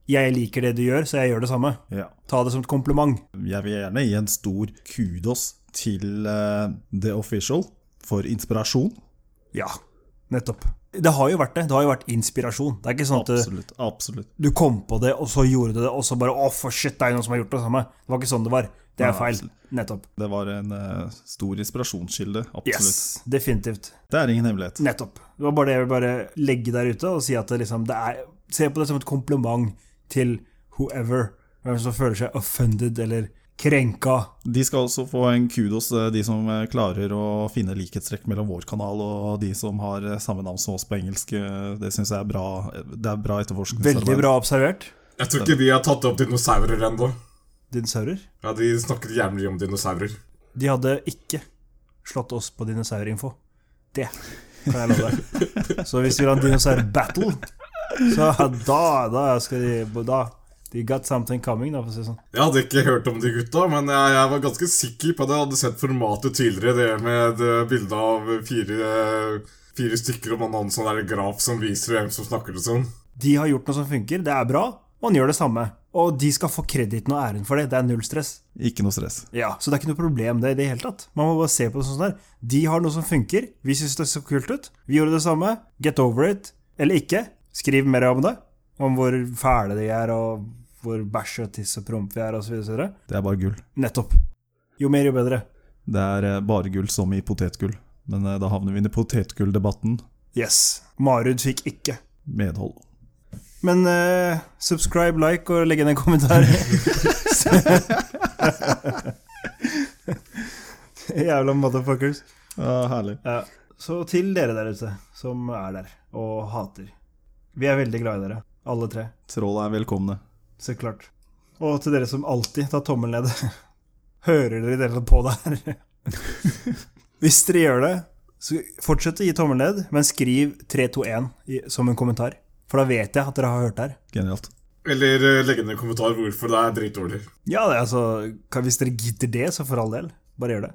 B: Jeg liker det du gjør, så jeg gjør det samme.
A: Ja.
B: Ta det som et kompliment.
A: Jeg vil gjerne gi en stor kudos til eh, The Official for inspirasjon.
B: Ja, nettopp. Det har jo vært det. Det har jo vært inspirasjon. Det er ikke sånn at du,
A: Absolutt. absolutt.
B: du kom på det, og så gjorde du det, og så bare Å, for shit, det er jo noen som har gjort det samme. Det var ikke sånn det var. Det er
A: Nei,
B: feil. Nettopp.
A: Det var en eh, stor inspirasjonskilde. Absolutt.
B: Yes, definitivt.
A: Det er ingen hemmelighet.
B: Nettopp. Det var bare det jeg ville bare legge der ute og si at det, liksom, det er se på det som et kompliment til whoever. Hvem som føler seg offended eller krenka.
A: De skal også få en kudos, eh, de som eh, klarer å finne likhetstrekk mellom vår kanal og de som har eh, samme navn som oss på engelsk. Eh, Det syns jeg er bra. Det er bra etterforskningsarbeid.
B: Veldig bra observert.
C: Jeg tror ikke vi har tatt opp dinosaurer ennå.
B: Dinosaurer.
C: Ja, de snakket jævlig mye om dinosaurer.
B: De hadde ikke slått oss på dinosaurinfo. Det kan jeg love deg. Så hvis vi vil ha en dinosaur-battle, så da, da skal de da, De got something coming, da, for å si det sånn.
C: Jeg hadde ikke hørt om de gutta, men jeg, jeg var ganske sikker på at jeg hadde sett formatet tidligere, det med det bildet av fire, fire stykker og man har en sånn der graf som viser hvem som snakker det sånn.
B: De har gjort noe som funker, det er bra. Man gjør det samme. Og de skal få krediten og æren for det. Det er null stress.
A: Ikke noe stress.
B: Ja, Så det er ikke noe problem det i det hele tatt. Man må bare se på det sånn der. De har noe som funker. Vi syns det så kult ut. Vi gjorde det samme. Get over it. Eller ikke. Skriv mer om det. Om hvor fæle de er, og hvor bæsj og tiss og promp vi er, osv.
A: Det er bare gull.
B: Nettopp. Jo mer, jo bedre.
A: Det er eh, bare gull som i potetgull. Men eh, da havner vi inn i potetgulldebatten.
B: Yes. Marud fikk ikke.
A: Medhold.
B: Men eh, subscribe, like og legg inn en kommentar. (laughs) Jævla motherfuckers.
A: Ja, herlig.
B: Ja, så til dere der ute som er der og hater. Vi er veldig glad i dere, alle tre.
A: Troll er velkomne.
B: Så klart. Og til dere som alltid tar tommelen ned. (laughs) Hører dere i det hele tatt på det her? (laughs) Hvis dere gjør det, så fortsett å gi tommelen ned, men skriv 321 i, som en kommentar. For da vet jeg at dere har hørt det her.
A: Genialt.
C: Eller eh, legge ned en kommentar hvorfor det er dritdårlig.
B: Ja, det er altså, kan- hvis dere gidder det, så for all del, bare gjør det.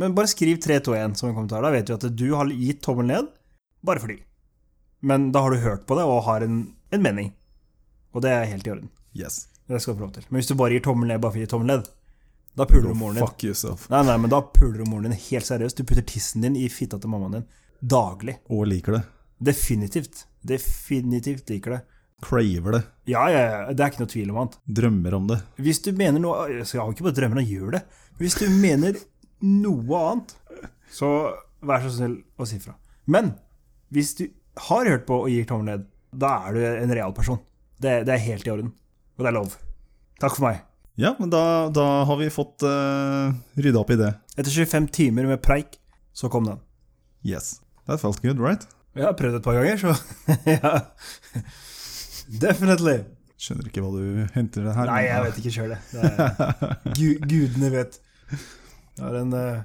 B: Men bare skriv 321 som en kommentar. Da vet vi at du har gitt tommel ned, bare fordi. Men da har du hørt på det og har en, en mening. Og det er helt i orden.
A: Yes.
B: Det skal du få lov til. Men hvis du bare gir tommel ned bare for å gi tommel ned, da puler du moren din.
A: Fuck yourself.
B: Nei, nei, men da puler du moren din helt seriøst. Du putter tissen din i fitta til mammaen din. Daglig.
A: Og liker det.
B: Definitivt. Definitivt liker det.
A: Craver det.
B: Ja, ja, ja. Det er ikke noe tvil om annet.
A: Drømmer om det.
B: Hvis du mener noe Jeg har ikke bare drømmen å gjøre det. Hvis du mener noe annet, så vær så snill å si fra. Men hvis du har hørt på og gir tommel ned, da er du en real person. Det, det er helt i orden. Og det er lov. Takk for meg.
A: Ja, men da, da har vi fått uh, rydda opp i det.
B: Etter 25 timer med preik, så kom den.
A: Yes. That felt good, right?
B: Jeg har prøvd et par ganger, så (laughs) ja. Definitely.
A: Skjønner ikke hva du henter det her.
B: Nei, jeg vet ikke sjøl, det. det er,
A: (laughs)
B: gu, gudene vet. Det er en eh,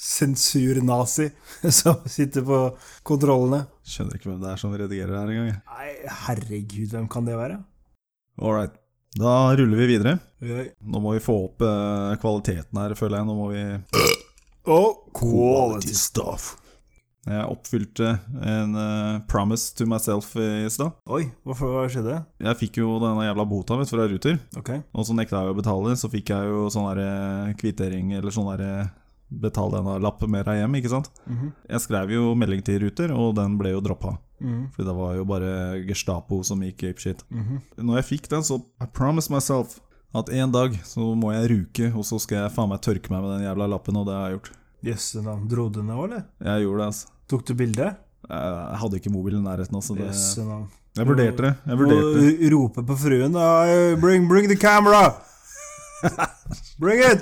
B: sensurnazi (laughs) som sitter på kontrollene.
A: Skjønner ikke hvem det er som redigerer det her engang.
B: Nei, herregud, hvem kan det være?
A: All right. Da ruller vi videre.
B: Oi.
A: Nå må vi få opp eh, kvaliteten her, føler jeg. Nå må vi
B: Og quality
A: stuff. Jeg oppfylte en eh, promise to myself i stad.
B: Oi, hvorfor, hva skjedde?
A: Jeg fikk jo denne jævla bota vet, du, fra Ruter,
B: Ok.
A: og så nekta jeg å betale. Så fikk jeg jo sånn der eh, kvittering, eller sånn der eh, Betal denne lapp med deg hjem, ikke sant?
B: Mhm.
A: Jeg skrev jo melding til Ruter, og den ble jo droppa.
B: Mhm.
A: Fordi det var jo bare Gestapo som gikk apeshit.
B: Mhm.
A: Når jeg fikk den, så I promise myself at en dag så må jeg ruke, og så skal jeg faen meg tørke meg med den jævla lappen, og det har jeg gjort.
B: Jøsse navn. Dro du ned òg, eller?
A: Jeg gjorde det, altså.
B: Tok du bilde?
A: Jeg hadde ikke mobilen i nærheten, altså. Det,
B: Jøsse navn.
A: jeg vurderte det. Jeg vurderte det.
B: Må Rope på fruen da. «Hey, Bring, bring the
A: (laughs)
B: camera! Bring it!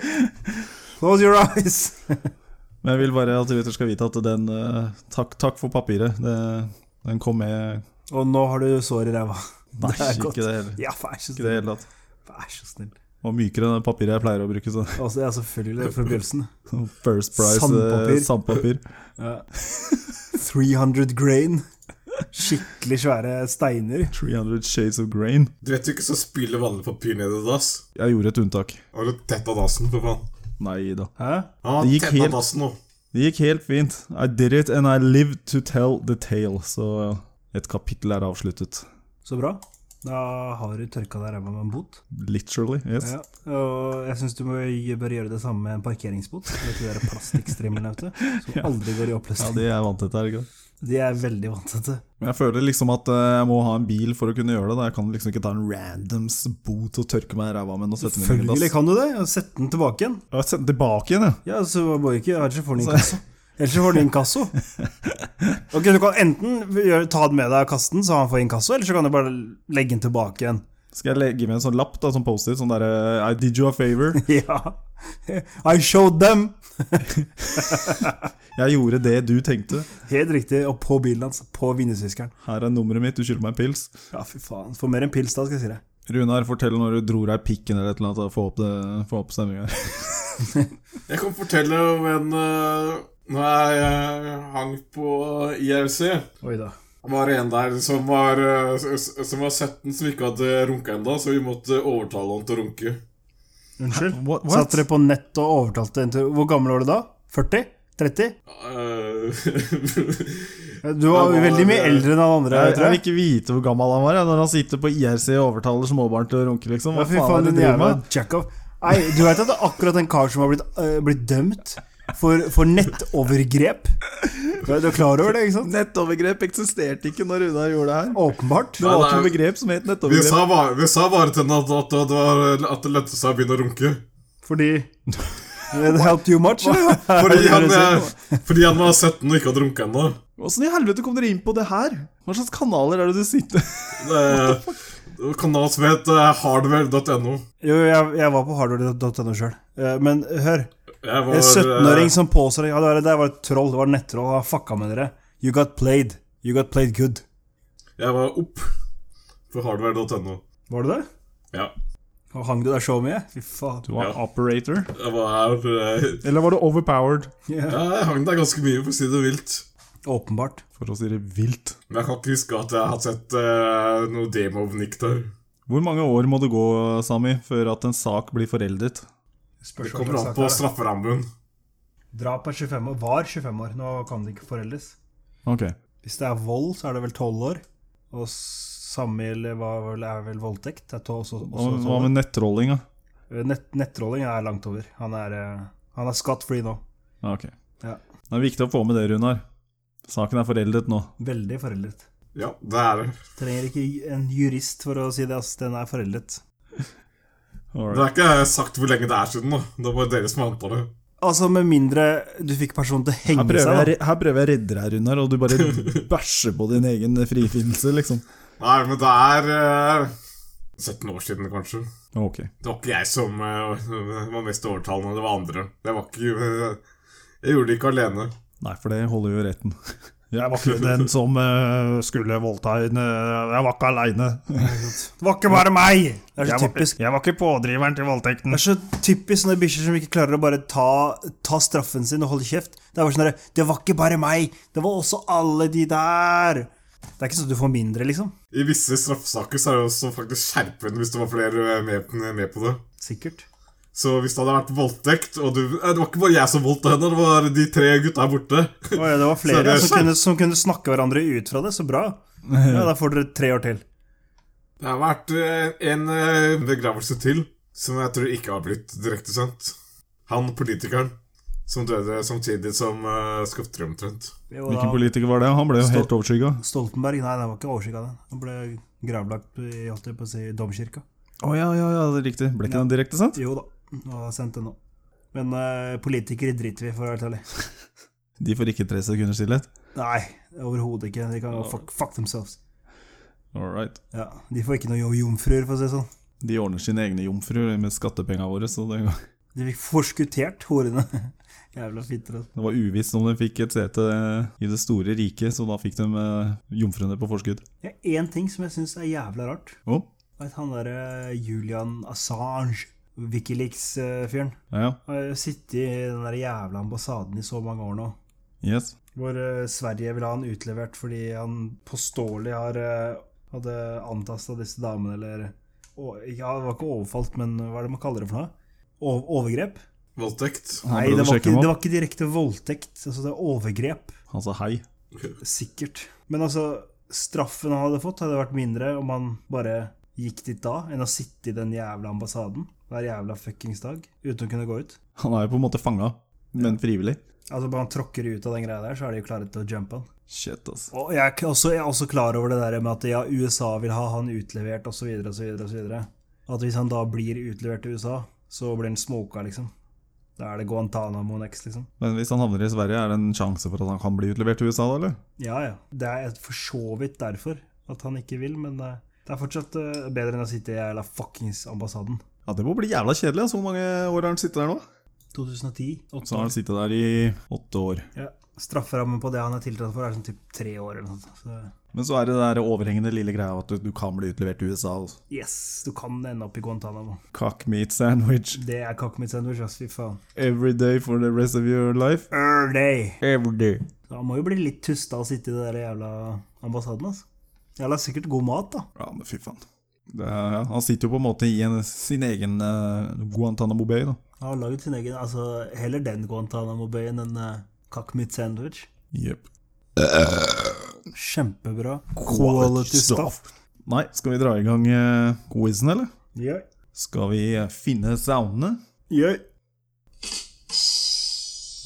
B: Close your eyes!
A: Men jeg vil bare at dere skal vite at den eh, Takk, takk for papiret. Det, den kom med
B: Og nå har du sår i ræva.
A: Nei,
B: Det er
A: ikke
B: godt.
A: det heller.
B: Ja, vær så
A: Ikke det
B: snill.
A: hele tatt.
B: Vær så snill.
A: Og mykere enn det papiret jeg pleier å bruke. Så. (laughs)
B: Altså, ja, selvfølgelig. Det er fra begynnelsen.
A: First price
B: Sandpapir.
A: sandpapir. sandpapir.
B: Ja.
A: (laughs)
B: 300 grain. Skikkelig svære steiner.
A: 300 shades of grain.
C: Du vet jo ikke så spiller vanlig papir ned i dass.
A: Jeg gjorde et unntak.
C: Har du tett av dassen, for faen?
A: Nei da.
B: Hæ?
C: Ja,
A: Det gikk
C: tett
A: helt-
C: av dassen nå.
A: Det gikk helt fint. I did it and I lived to tell the tale. Så eh, et kapittel er avsluttet.
B: Så bra. Da har du tørka deg ræva med en bot.
A: Literally. Yes.
B: Ja. Og jeg syns du må, bør gjøre det samme med en parkeringsbot. Du vet de der plastikkstrimlene ute, som aldri går
A: (laughs)
B: i
A: Ja,
B: oppløsning.
A: det er vant til dette, er det ikke det?
B: De er veldig vant til det.
A: Men jeg føler liksom at eh, jeg må ha en bil for å kunne gjøre det. Da. Jeg kan liksom ikke ta en randoms bot og tørke meg i ræva med den og sette den i en
B: Selvfølgelig
A: dass.
B: kan du det. Sette den tilbake igjen.
A: Ja, Sett den tilbake igjen, ja.
B: Ja, så må du ikke ha ikke få den i kassa. Ellers så får du (laughs) inkasso. Ok, Du kan enten gjøre, ta den med deg og kaste den, så han får inkasso, eller så kan du bare legge den tilbake igjen.
A: Skal jeg legge med en sånn lapp, da, sånn Post-It? Sånn derre I did you a favor.
B: (laughs) Ja. I showed them!
A: Jeg gjorde det du tenkte.
B: Helt riktig. Og på bilen hans. På vindusviskeren.
A: Her er nummeret mitt, du skylder meg en pils.
B: Ja, fy faen. Få mer enn pils da, skal jeg si deg.
A: Runar, fortell når du dro deg pikken eller et eller annet, da, få opp, det- få opp stemninga.
C: Jeg kan fortelle om en uh, Når jeg eh, hang på IRC
B: Oi da.
C: var det en der som var, eh, s- s- som var 17 som ikke hadde runka ennå, så vi måtte overtale han til å runke.
B: Unnskyld.
A: (laughs) What?
B: Satt dere på nett og overtalte en til Hvor gammel var du da? 40? 30?
C: Eh, (laughs)
B: Du var
C: Jeg var-
B: veldig mye eldre enn han andre.
A: Jeg, jeg
B: tror
A: vil
B: jeg.
A: ikke vite hvor gammel han var jeg, når han sitter på IRC og overtaler småbarn til å runke, liksom.
B: Ja,
A: Hva
B: fy
A: faen
B: faen,
A: er det
B: din
A: du driver
B: jævla
A: med?
B: jackoff. Nei, du veit at det er akkurat en kar som har blitt, øh, blitt dømt for, for nettovergrep? Du er, du er klar over det, ikke sant?
A: Nettovergrep eksisterte ikke når Runar gjorde det her.
B: Åpenbart.
A: Det var
C: Nei,
A: ikke noe
C: nei.
A: begrep som het
C: vi,
A: nettovergrep.
C: sa bare, vi sa bare til henne at, at, det var- at det lønte seg å begynne å runke.
B: Fordi It helped you much? eller?
C: (laughs) Fordi han,
B: Det er det
C: eh, fordi han var 17 og ikke hadde runka ennå.
A: Åssen i helvete kom dere inn på det her? Hva slags kanaler er det du sitter
C: Det- Kanal som het eh, hardware.no.
B: Jo, jeg, jeg var på hardware.no sjøl. Eh, Men hør.
C: Jeg var
B: En 17-åring
C: eh,
B: som påstår Ja, det var, det var et troll. Det var et nettroll. Han fucka med dere. You got played. You got played good.
C: Jeg var opp på hardware.no.
B: Var du det?
C: Ja.
B: Og Hang du der så mye? Fy
A: (laughs)
B: faen.
A: Du var
C: Ja.
A: operator?
C: Jeg var her eh,
A: Eller var du overpowered?
B: Ja.
C: ja, Jeg hang der ganske mye, for å si det vilt.
B: Åpenbart.
A: For å si det vilt.
C: Men jeg kan ikke huske at jeg har sett eh, noe demo av Nick der.
A: Hvor mange år må du gå, Sami, før at en sak blir foreldet?
C: Det kommer an på strafferammen.
B: Drap er 25 år. Var 25 år. Nå kan det ikke foreldes.
A: Ok.
B: Hvis det er vold, så er det vel 12 år. Og samliv er vel voldtekt. Det er to, også,
A: Hva
B: også,
A: hva
B: 12 år. Eh,
A: med nettrolling, da?
B: Nett, nettrolling er langt over. Han er, eh, han er skatt free nå.
A: Ja, ok.
B: Ja.
A: Det er viktig å få med det, Runar. Saken er foreldet nå.
B: Veldig foreldet.
C: Ja, det er det.
B: Trenger ikke en jurist for å si det, ass. Den er foreldet.
C: Det er ikke sagt hvor lenge det er siden, da. Det er bare dere som har antallet.
B: Altså, med mindre du fikk personen til å
A: Her
B: henge
A: prøver,
B: seg, da.
A: jeg, her prøver jeg å redde deg, Runar, og du (laughs) bare bæsjer på din egen frifinnelse, liksom.
C: Nei, men det er eh, 17 år siden, kanskje.
A: Ok.
C: Det var ikke jeg som eh, var mest overtalende, det var andre. Det var ikke eh, Jeg gjorde det ikke alene.
A: Nei, for det holder jo retten. (laughs) Jeg var
C: ikke den
A: som eh, skulle voldta henne. Jeg var ikke aleine. (laughs)
B: Det var ikke bare meg! Det er så typisk.
A: jeg var ikke pådriveren til voldtekten.
B: Det er så typisk sånne bikkjer som ikke klarer å bare ta, ta straffen sin og holde kjeft. Det er bare sånn der, Det var ikke bare meg! Det var også alle de der! Det er ikke sånn at du får mindre, liksom.
C: I visse straffesaker så er det også faktisk skjerpende hvis det var flere eh, med, med på det.
B: Sikkert.
C: Så hvis det hadde vært voldtekt og du, eh, Det var ikke bare jeg som voldta henne, det var de tre gutta her borte. (laughs)
B: Å ja, det var flere
C: Så det er
B: som,
C: sant.
B: kunne, som kunne snakke hverandre ut fra det. Så bra. Ja, Da får dere tre år til.
C: Det har vært eh, en eh, begravelse til som jeg tror ikke har blitt direktesendt. Han politikeren som døde samtidig som uh, Skofterud, omtrent.
B: Jo,
A: Hvilken
B: da,
A: politiker var det? Han ble jo
B: Stå-
A: helt overskygga.
B: Stoltenberg? Nei, det var ikke oversikt av den. Han ble gravlagt i holdt jeg på å si, domkirka.
A: Å ja, ja, ja, det er riktig. Ble ikke den direkte sendt?
B: Jo da, og har sendt den nå. Men eh, politikere driter vi, for å være helt ærlig.
A: De får ikke tre sekunders stillhet.
B: Nei, overhodet ikke. De kan fuck, fuck themselves.
A: All right.
B: Ja, De får ikke noe jo- jomfruer, for å si det sånn.
A: De ordner sine egne jomfruer med skattepengene våre, så det,
B: De fikk forskuttert horene. (laughs) Jævla fitter. altså.
A: det var uvisst om de fikk et sete i det store riket, så da fikk de eh, jomfruene på forskudd.
B: Det er én ting som jeg syns er jævla rart.
A: Å,
B: Vet han derre Julian Assange, Wikileaks-fyren.
A: ja, ja.
B: Har jo sittet i den der jævla ambassaden i så mange år nå.
A: Yes.
B: Hvor eh, Sverige vil ha han utlevert fordi han påståelig har, eh, hadde antasta disse damene, eller og, Ja, det var ikke overfalt, men hva er det man kaller det for noe? O overgrep?
C: Voldtekt.
A: Han
B: Nei,
A: prøvde
B: det
A: å
B: var,
A: sjekke
B: ikke,
A: dem
B: det
A: opp.
B: var ikke direkte voldtekt. Altså, det er overgrep.
A: Han sa hei.
B: Sikkert. Men altså, straffen han hadde fått, hadde vært mindre om han bare gikk dit da, enn å sitte i den jævla ambassaden hver jævla fuckings dag uten å kunne gå ut.
A: Han er jo på en måte fanga, men frivillig.
B: Altså, bare han tråkker ut av den greia der, så er de jo klare til å jumpe han.
A: Shit, ass.
B: Og jeg er, k- også, jeg er også klar over det der med at ja, USA vil ha han utlevert osv. osv. At hvis han da blir utlevert til USA, så blir han smoka, liksom. Da er det Guantánamo next, liksom.
A: Men hvis han havner i Sverige, er det en sjanse for at han kan bli utlevert til USA, da, eller?
B: Ja, ja. Det er for så vidt derfor at han ikke vil, men eh, det er fortsatt eh, bedre enn å sitte i jævla fuckings ambassaden.
A: Ja, Det må bli jævla kjedelig. Altså. Hvor mange år har han sittet der nå?
B: 2010. åtte
A: Så har
B: år.
A: han sittet der i åtte år.
B: Ja. Strafferammen på det han er tiltalt for, er sånn typ tre år eller noe sånt. Så
A: Men så er det der overhengende lille greia at du, du kan bli utlevert til USA. Altså.
B: yes, du kan ende opp i Guantánamo.
A: Cock meat sandwich
B: Det er kakk mitt sandwich, ass. Fy faen.
A: every day for the rest of your life.
B: Er day!
A: Every day.
B: Da må jo bli litt tusta å sitte i det der jævla ambassaden, altså. Jævla sikkert god mat, da.
A: Ja, men fy faen. Det er, ja. Han sitter jo på en måte i en, sin egen eh, Guantánamo Bay, da.
B: Han har laget sin egen Altså, heller den Guantánamo-bøyen enn uh, kakk mitt sandwich.
A: Jepp.
B: Kjempebra.
A: Quality stuff. Nei, skal vi dra i gang uh, quizen, eller?
B: Yeah.
A: Skal vi eh, finne soundene?
B: Yeah.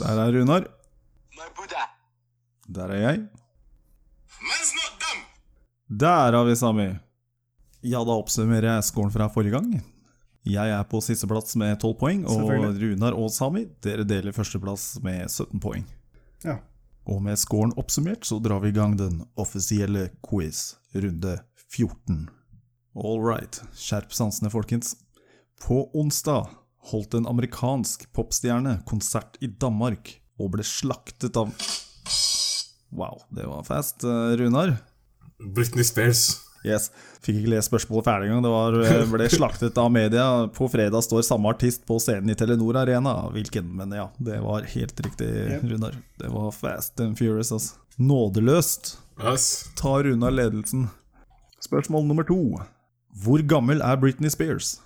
A: Der er Runar.
D: My Buddha.
A: Der er jeg.
D: Man's not dumb.
A: Der har vi Sami. Ja, da oppsummerer jeg scoren fra forrige gang. Jeg er på sisteplass med 12 poeng, og
B: Selvfølgelig.
A: Runar og Sami dere deler førsteplass med 17 poeng.
B: Ja.
A: Og med scoren oppsummert så drar vi i gang den offisielle quiz, runde 14. All right, skjerp sansene, folkens. På onsdag holdt en amerikansk popstjerne konsert i Danmark og ble slaktet av Wow, det var fast, eh, Runar.
C: Britney Spears.
A: Yes. Fikk ikke lest spørsmålet ferdig engang. Det var, eh, ble slaktet av media. På fredag står samme artist på scenen i Telenor Arena. Hvilken? Men ja, det var helt riktig, Runar. Det var fast and furious, altså. Nådeløst
C: Yes.
A: tar Runar ledelsen. Spørsmål nummer to. Hvor gammel er Britney Spears?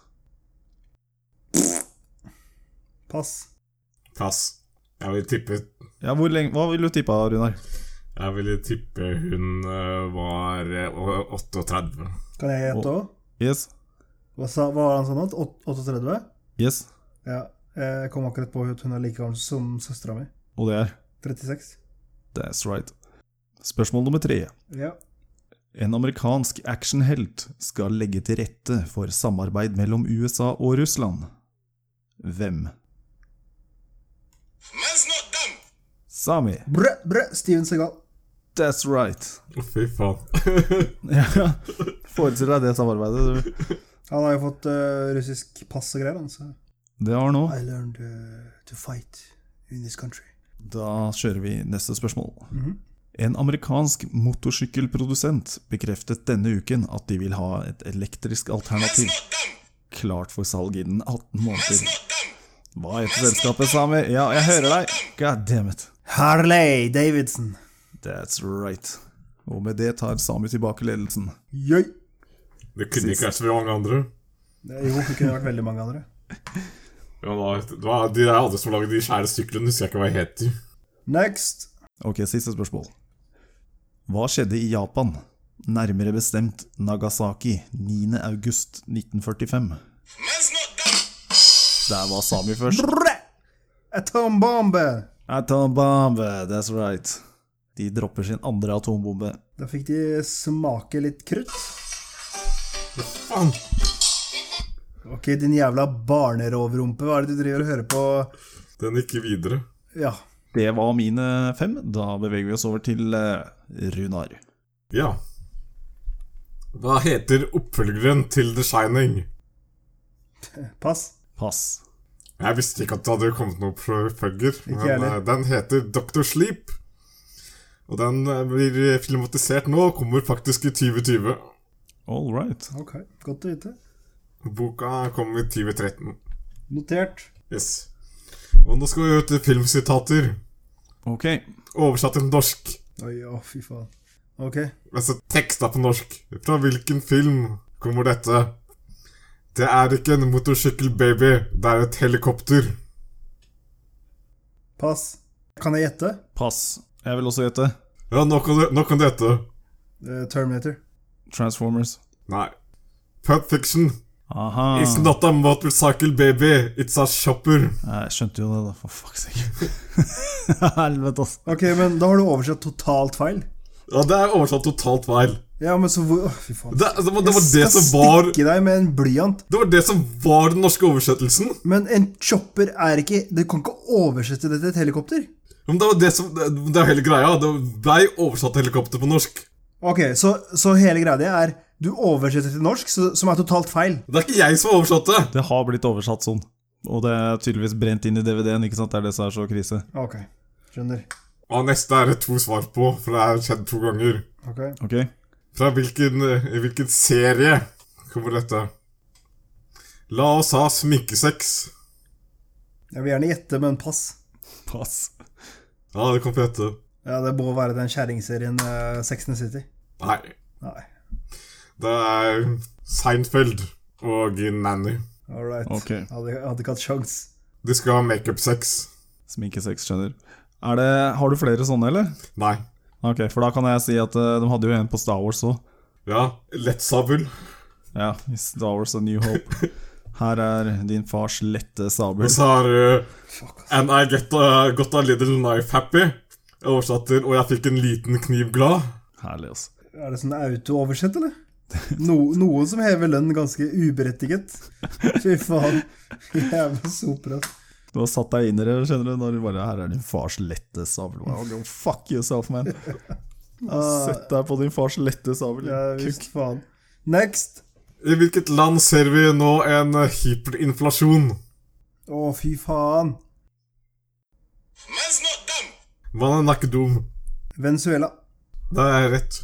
B: Pass.
C: Pass. Jeg vil tippe
A: Ja, hvor lenge, Hva vil du tippe, Runar?
C: Jeg ville tippe hun eh, var eh, å- 38.
B: Kan jeg gjette òg?
A: Yes?
B: Hva, sa- hva var han sånn at? Åt- 38?
A: Yes?
B: Ja. Jeg kom akkurat på at hun er like gammel som søstera mi.
A: Og det er
B: 36.
A: That's right. Spørsmål nummer tre.
B: Ja.
A: En amerikansk actionhelt skal legge til rette for samarbeid mellom USA og Russland. Hvem?
D: Man's not dumb.
A: Sami.
B: Brø, brø, Steven Segal.
A: That's right.
C: Å, Fy faen.
A: (laughs) Ja, Forestill deg det samarbeidet. (laughs) du.
B: Han har jo fått eh, russisk pass og greier, han, så
A: Det har nå.
B: I learned eh, to fight in this country.
A: Da kjører vi neste spørsmål.
B: Mhm.
A: En amerikansk motorsykkelprodusent bekreftet denne uken at de vil ha et elektrisk
D: Man's
A: alternativ
D: not dumb.
A: klart for salg innen 18
D: Man's
A: måneder.
D: not dumb.
A: Hva heter selskapet, Sami? Ja, jeg hører deg! God damn it.
B: Harley Davidson.
A: That's right. Og med det tar Sami tilbake ledelsen.
B: Jøy.
C: Det kunne ikke vært så mange andre.
B: Jo, det kunne vært veldig mange andre.
C: Ja, da, det var de der andre som lagde de skjære syklene, husker jeg ikke hva jeg het.
B: Next.
A: Ok, siste spørsmål. Hva skjedde i Japan, nærmere bestemt Nagasaki, 9. august 1945?
D: Man's not dumb.
A: Der var Sami først.
B: Brø! Atombombe.
A: Atombombe, that's right. De dropper sin andre atombombe.
B: Da fikk de smake litt krutt.
C: Faen!
B: Ok, din jævla barnerovrumpe, hva er det du driver og hører på?
C: Den gikk videre.
B: Ja.
A: Det var mine fem. Da beveger vi oss over til eh, Runar.
C: Ja. Hva heter oppfølgeren til The Shining?
B: Pass.
A: Pass.
C: Jeg visste ikke at det hadde kommet noen oppfølger. Men
B: heller.
C: eh, den heter Dr. Sleep. Og den eh, blir filmatisert nå, og kommer faktisk i 2020.
A: All right.
B: Ok, godt å vite.
C: Boka kom i 2013.
B: Notert.
C: Yes. Og nå skal vi ut til filmsitater.
A: Ok.
C: Oversatt til norsk.
B: Oi, å, fy faen. Ok.
C: Altså teksta på norsk. Fra hvilken film kommer dette? Det er ikke en motorsykkelbaby, det er et helikopter.
B: Pass. Kan jeg gjette?
A: Pass. Jeg vil også gjette
C: Ja, nå kan du, nå kan du gjette.
B: Eh, Terminator.
A: Transformers.
C: Nei. Pulp Fiction.
A: Aha.
B: Ah.
C: It's not a motorcycle baby, it's a shopper.
A: Nei, Jeg skjønte jo det, da. For fuck's sake. (laughs) Helvete, altså.
B: Ok, men da har du oversett totalt feil.
C: Ja, det er oversatt totalt feil.
B: Ja, men så hvor Å, fy faen.
C: Det, altså, det, var, det, var det,
B: Jeg
C: som
B: skal
C: var,
B: stikke deg med en blyant.
C: det var det som var den norske oversettelsen.
B: Men en chopper er ikke Du kan ikke oversette det til et helikopter.
C: Men det var det som Det, det er jo hele greia. Det blei oversatt til helikopter på norsk.
B: Ok, så, så hele greia er Du oversetter til norsk, så, som er totalt feil.
C: Det er ikke jeg som har oversatt det.
A: Det har blitt oversatt sånn. Og det er tydeligvis brent inn i DVD-en, ikke sant? Det er det som er så krise.
B: Ok, skjønner.
C: Og neste er det to svar på, for det er skjedd to ganger.
B: Ok.
A: Ok?
C: Fra hvilken, i hvilken serie kommer dette? La oss ha sminkesex.
B: Jeg vil gjerne gjette, men pass.
A: Pass.
C: Ja, det kom på dette.
B: Ja, Det må være den kjerringserien uh, Sex and the City.
C: Nei,
B: Nei.
C: det er Seinfeld og Nanny.
B: All right.
A: Ok.
B: Hadde, hadde ikke hatt sjans.
C: De skal ha makeup-sex.
A: Sminkesex, skjønner. Er det, har du flere sånne, eller?
C: Nei.
A: Ok, for da kan jeg si at eh, de hadde jo en på Star Wars òg.
C: Ja, lettsabel.
A: Ja, i Star Wars A New
B: (laughs)
A: Hope. Her er din fars lette sabel.
C: Og så har uh,
B: Fuck, ass.
C: And I get a, got a little knife happy. Oversatt til Og jeg fikk en liten kniv glad.
A: Herlig, altså.
B: Er det sånn auto-oversett, eller? (laughs) No, noen som hever lønn ganske uberettiget. Fy faen. Jævla soper, ass.
A: Du har satt deg inn i det, skjønner du, når du bare Her er din fars lette sabel. Wow, go fuck yourself,
B: (laughs)
A: man. Ah. Sett deg på din fars lette sabel.
B: Ah, Ja
A: kukk.
B: visst, faen. Next!
C: I hvilket land ser vi nå en eh, hyperinflasjon?
B: Å, fy faen.
E: Man's not dumb.
C: Mannen er ikke dum.
B: Venezuela.
C: Det er rett.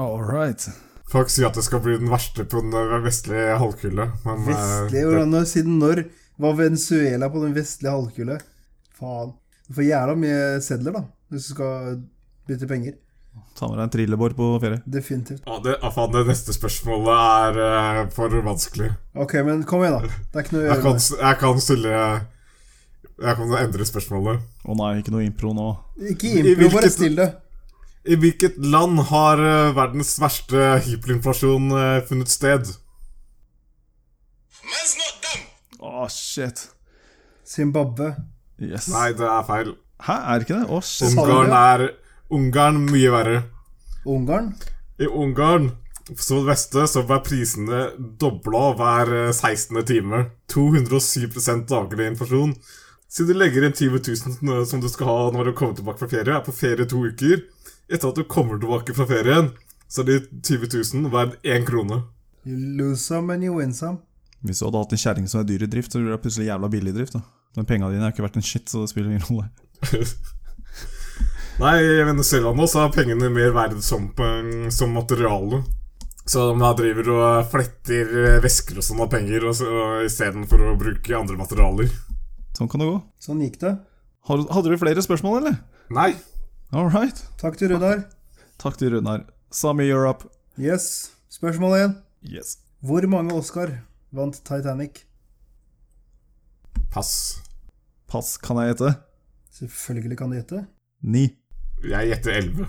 A: All right.
C: Folk sier at det skal bli den verste på den eh, vestlige halvkule, men eh,
B: Vestlige
C: det,
B: hvordan, Siden når var Venezuela på den vestlige halvkule? Faen. Du får jævla mye sedler, da, hvis du skal bytte penger.
A: Ta med deg en trillebår på ferie.
B: Definitivt.
C: Å, det, ah, faen, det neste spørsmålet er eh, for vanskelig.
B: Ok, men kom igjen, da. Det er ikke noe å
C: Jeg
B: gjøre
C: kan,
B: med.
C: s- jeg kan stille Jeg kan endre spørsmålet.
A: Å nei, ikke noe impro nå.
B: Ikke
C: I
B: impro,
C: hvilket-
B: bare still det.
C: I hvilket land har eh, verdens verste hyperinflasjon eh, funnet sted?
E: Man's not dumb.
A: Å, shit.
B: Zimbabwe.
A: Yes.
C: Nei, det er feil.
A: Hæ, er det ikke det? Å, shit.
C: Ungarn er Ungarn mye verre.
B: Ungarn.
C: I Ungarn, som det beste, så ble prisene dobla hver eh, 16. time. 207 daglig inflasjon. Så du legger inn 20 000 som du skal ha når du kommer tilbake fra ferie, er på ferie to uker. Etter at du kommer tilbake fra ferien, så er de 20 000 verdt én krone.
B: You lose some and you win some.
A: Hvis du hadde hatt en kjerring som er dyr i drift, så ville du vært plutselig jævla billig i drift. da. Men penga dine er ikke verdt en shit, så det spiller ingen rolle.
C: Nei, i Venezuela nå så er pengene mer verd som, eh, som materiale. Så de her driver og fletter eh, væsker og sånn av penger og så- og istedenfor å bruke andre materialer.
A: Sånn kan det gå.
B: Sånn gikk det.
A: Har, hadde du flere spørsmål, eller?
C: Nei.
A: All right.
B: Takk til Runar.
A: Takk til Runar. Sami Europe.
B: Yes. Spørsmål én.
A: Yes.
B: Hvor mange Oscar vant Titanic?
C: Pass.
A: Pass kan jeg gjette.
B: Selvfølgelig kan du gjette.
A: Ni.
C: Jeg gjetter 11.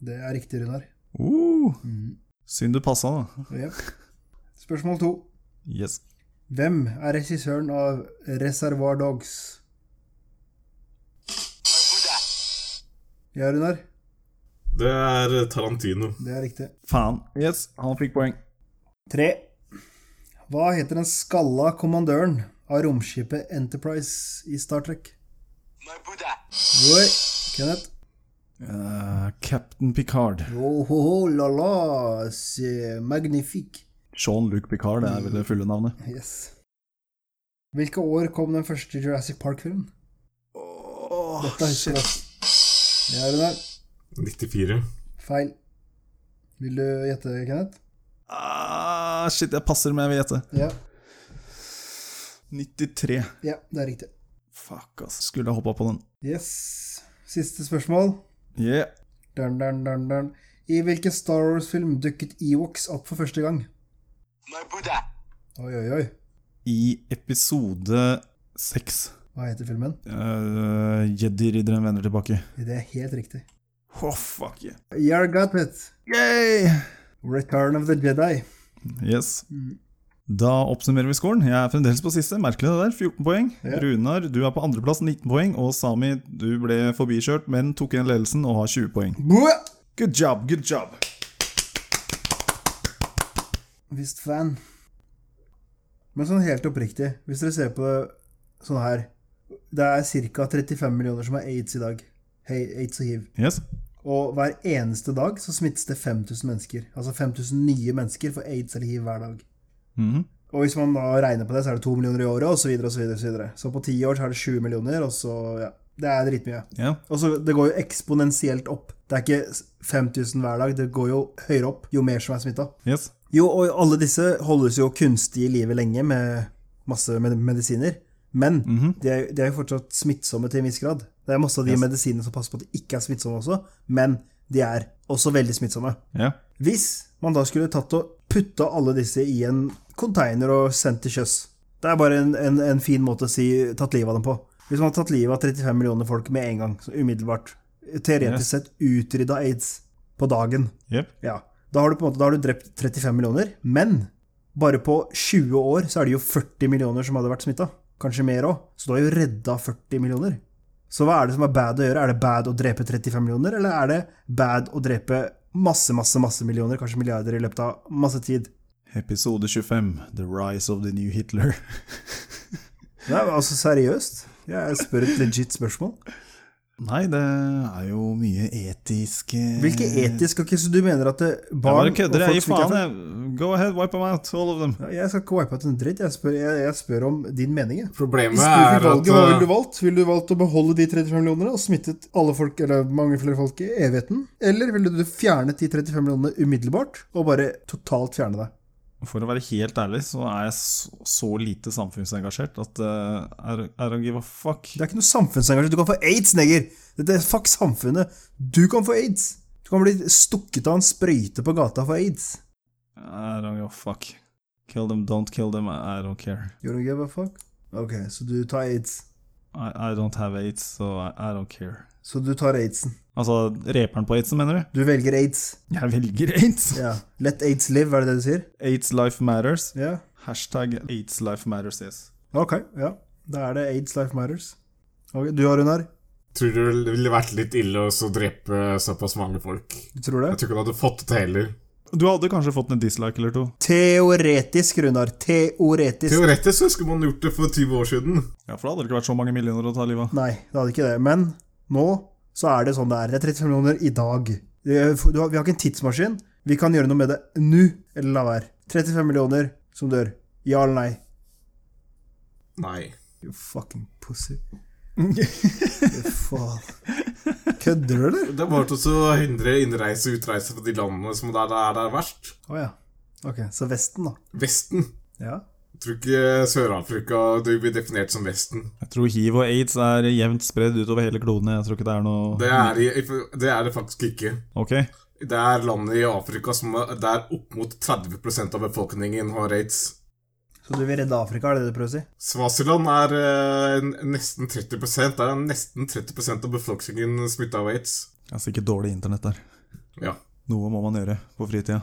B: Det er riktig, Runar.
A: Uh. Synd du passa, da.
B: Jep. Spørsmål to.
A: Yes.
B: Hvem er regissøren av Reservoir Dogs?
E: My Buddha.
B: Ja, Runar.
C: Det er Tarantino.
B: Det er riktig.
A: Faen. Yes, han fikk poeng.
B: Tre. Hva heter den skalla kommandøren av romskipet Enterprise i Star Trek?
E: My Buddha.
B: Roy. Kenneth.
A: Eh, Captain Picard.
B: Oh, ho, ho, la, la, c'est magnifique.
A: Jean-Luc Picard, det er vel det fulle navnet.
B: Yes. Hvilke år kom den første Jurassic Park-filmen?
A: Åh,
B: Dette husker jeg. Ja, Runar.
C: 94.
B: Feil. Vil du gjette, Kenneth?
A: ah, shit, jeg passer, men jeg vil gjette.
B: Ja.
A: 93.
B: ja, det er riktig.
A: Fuck, ass. Skulle jeg hoppa på den.
B: Yes. Siste spørsmål.
A: Yeah.
B: Dun, dun, dun, dun. I hvilken Star Wars-film dukket Ewoks opp for første gang?
E: My Buddha.
B: Oi, oi, oi.
A: I episode seks
B: Hva heter filmen?
A: uh, Jedi-ridderen vender tilbake.
B: Det er helt riktig.
A: Åh, fuck yeah.
B: Yar Gatwit.
A: Yay!
B: Return of the Jedi.
A: Yes. Da oppsummerer vi scoren. Jeg er fremdeles på siste. Merkelig det der. 14 poeng.
B: Ja.
A: Runar, du er på andreplass, 19 poeng. Og Sami, du ble forbikjørt, men tok igjen ledelsen og har 20 poeng.
B: Boa!
A: Good job, good job.
B: visst fan. Men sånn helt oppriktig, hvis dere ser på det sånn her Det er ca. 35 millioner som har aids i dag. Hei, aids og hiv.
A: Yes.
B: Og hver eneste dag så smittes det 5000 mennesker. Altså 5000 nye mennesker får aids eller hiv hver dag.
A: Mhm.
B: Og hvis man da regner på det, så er det 2 millioner i året, osv., osv., osv. Så, videre, og så, videre. så på ti år så er det 7 millioner, og så Ja. Det er dritmye.
A: Ja.
B: Og så Det går jo eksponentielt opp. Det er ikke 5000 hver dag, det går jo høyere opp jo mer som er smitta.
A: Yes.
B: Jo, og alle disse holdes jo kunstig i livet lenge med masse med medisiner. Men de, er, de er jo fortsatt smittsomme til en viss grad. Det er masse av de medisinene som passer på at de ikke er smittsomme også, men de er også veldig smittsomme.
A: Ja.
B: Hvis man da skulle tatt og putta alle disse i en container og sendt til sjøs Det er bare en, en, en fin måte å si tatt livet av dem på. Hvis man hadde tatt livet av 35 millioner folk med en gang, så umiddelbart, teoretisk sett utrydda aids på dagen
A: Jep.
B: ja. Da har du på en måte da har du drept 35 millioner, men bare på 20 år så er det jo 40 millioner som hadde vært smitta. Kanskje mer òg. Så du har jo redda 40 millioner. Så hva er det som er bad å gjøre? Er det bad å drepe 35 millioner, eller er det bad å drepe masse, masse, masse millioner, kanskje milliarder, i løpet av masse tid?
A: Episode 25, The Rise of the New Hitler.
B: Det er altså seriøst. Jeg spør et legit spørsmål.
A: Nei, det er jo mye etisk eh,
B: Hvilke etiske og ikke så du mener at det-
A: Jeg
B: barn
A: bare kødder, jeg gir
B: og folk som ikke er
A: faen.
B: født-
A: jeg. Go ahead, wipe them out, all of them.
B: Ja, Jeg skal ikke wipe out en dritt. Jeg spør, jeg, jeg spør om din mening. Jeg.
C: Problemet
B: Hvis du fikk
C: er
B: valget, hva ville
C: at
B: du
C: eh,
B: valgt? Ville du valgt å beholde de 35 millionene og smittet alle folk, eller mange flere folk i evigheten? Eller ville du fjernet de 35 millionene umiddelbart og bare totalt fjerne det?
A: For å være helt ærlig, så er jeg så, så lite samfunnsengasjert at uh, I don't give a fuck.
B: Det er ikke noe samfunnsengasjement. Du kan få aids, neger! Dette er fuck samfunnet. Du kan få aids! Du kan bli stukket av en sprøyte på gata for aids.
A: I don't give a fuck. Kill them, don't kill them, I don't care.
B: You don't give a fuck? Ok, så du tar aids.
A: I, I don't have aids, so I, I don't care.
B: Så du tar aidsen.
A: Altså, reperen på aidsen, mener du?
B: Du velger aids.
A: Jeg velger aids! (laughs)
B: Ja. Let aids live, er det det du sier?
A: Aids life matters.
B: Ja.
A: Hashtag aids life matters, yes.
B: Ok, ja. Da er det aids life matters. Ok, Du har hun her?
C: Tror du det ville vært litt ille å så drepe såpass mange folk?
B: Du tror det?
C: Jeg tror ikke du hadde fått det til heller.
A: Du hadde kanskje fått en dislike eller to?
B: Teoretisk, Runar. Teoretisk.
C: Teoretisk så skulle man gjort det for 20 år siden.
A: Ja, for da hadde det ikke vært så mange millioner å ta livet av.
B: Nei, det hadde ikke det. Men nå så er det sånn det er. Det er 35 millioner i dag. Det- du har- Vi har ikke en tidsmaskin. Vi kan gjøre noe med det nå, eller la være. 35 millioner som dør. Ja eller nei?
C: Nei.
B: You fucking
A: (laughs)
B: pussy. Fy faen. Kødder du, eller?
C: Det er bare til å hindre innreise og utreise fra de landene som der det er der verst.
B: Å ja. Ok, så Vesten, da.
C: Vesten.
B: Ja.
C: Jeg tror ikke Sør-Afrika det blir definert som Vesten.
A: Jeg tror hiv og aids er jevnt spredd utover hele kloden. Jeg tror ikke det er noe
C: Det er, i- det er det faktisk ikke.
A: Ok.
C: Det er landet i Afrika som er, der opp mot 30 av befolkningen har aids.
B: Så du vil redde Afrika, er det det du prøver å si?
C: Svasiland er eh, n- nesten 30 Der er nesten 30 av befolkningen smitta av aids.
A: Det er sikkert dårlig internett der.
C: Ja.
A: Noe må man gjøre på fritida.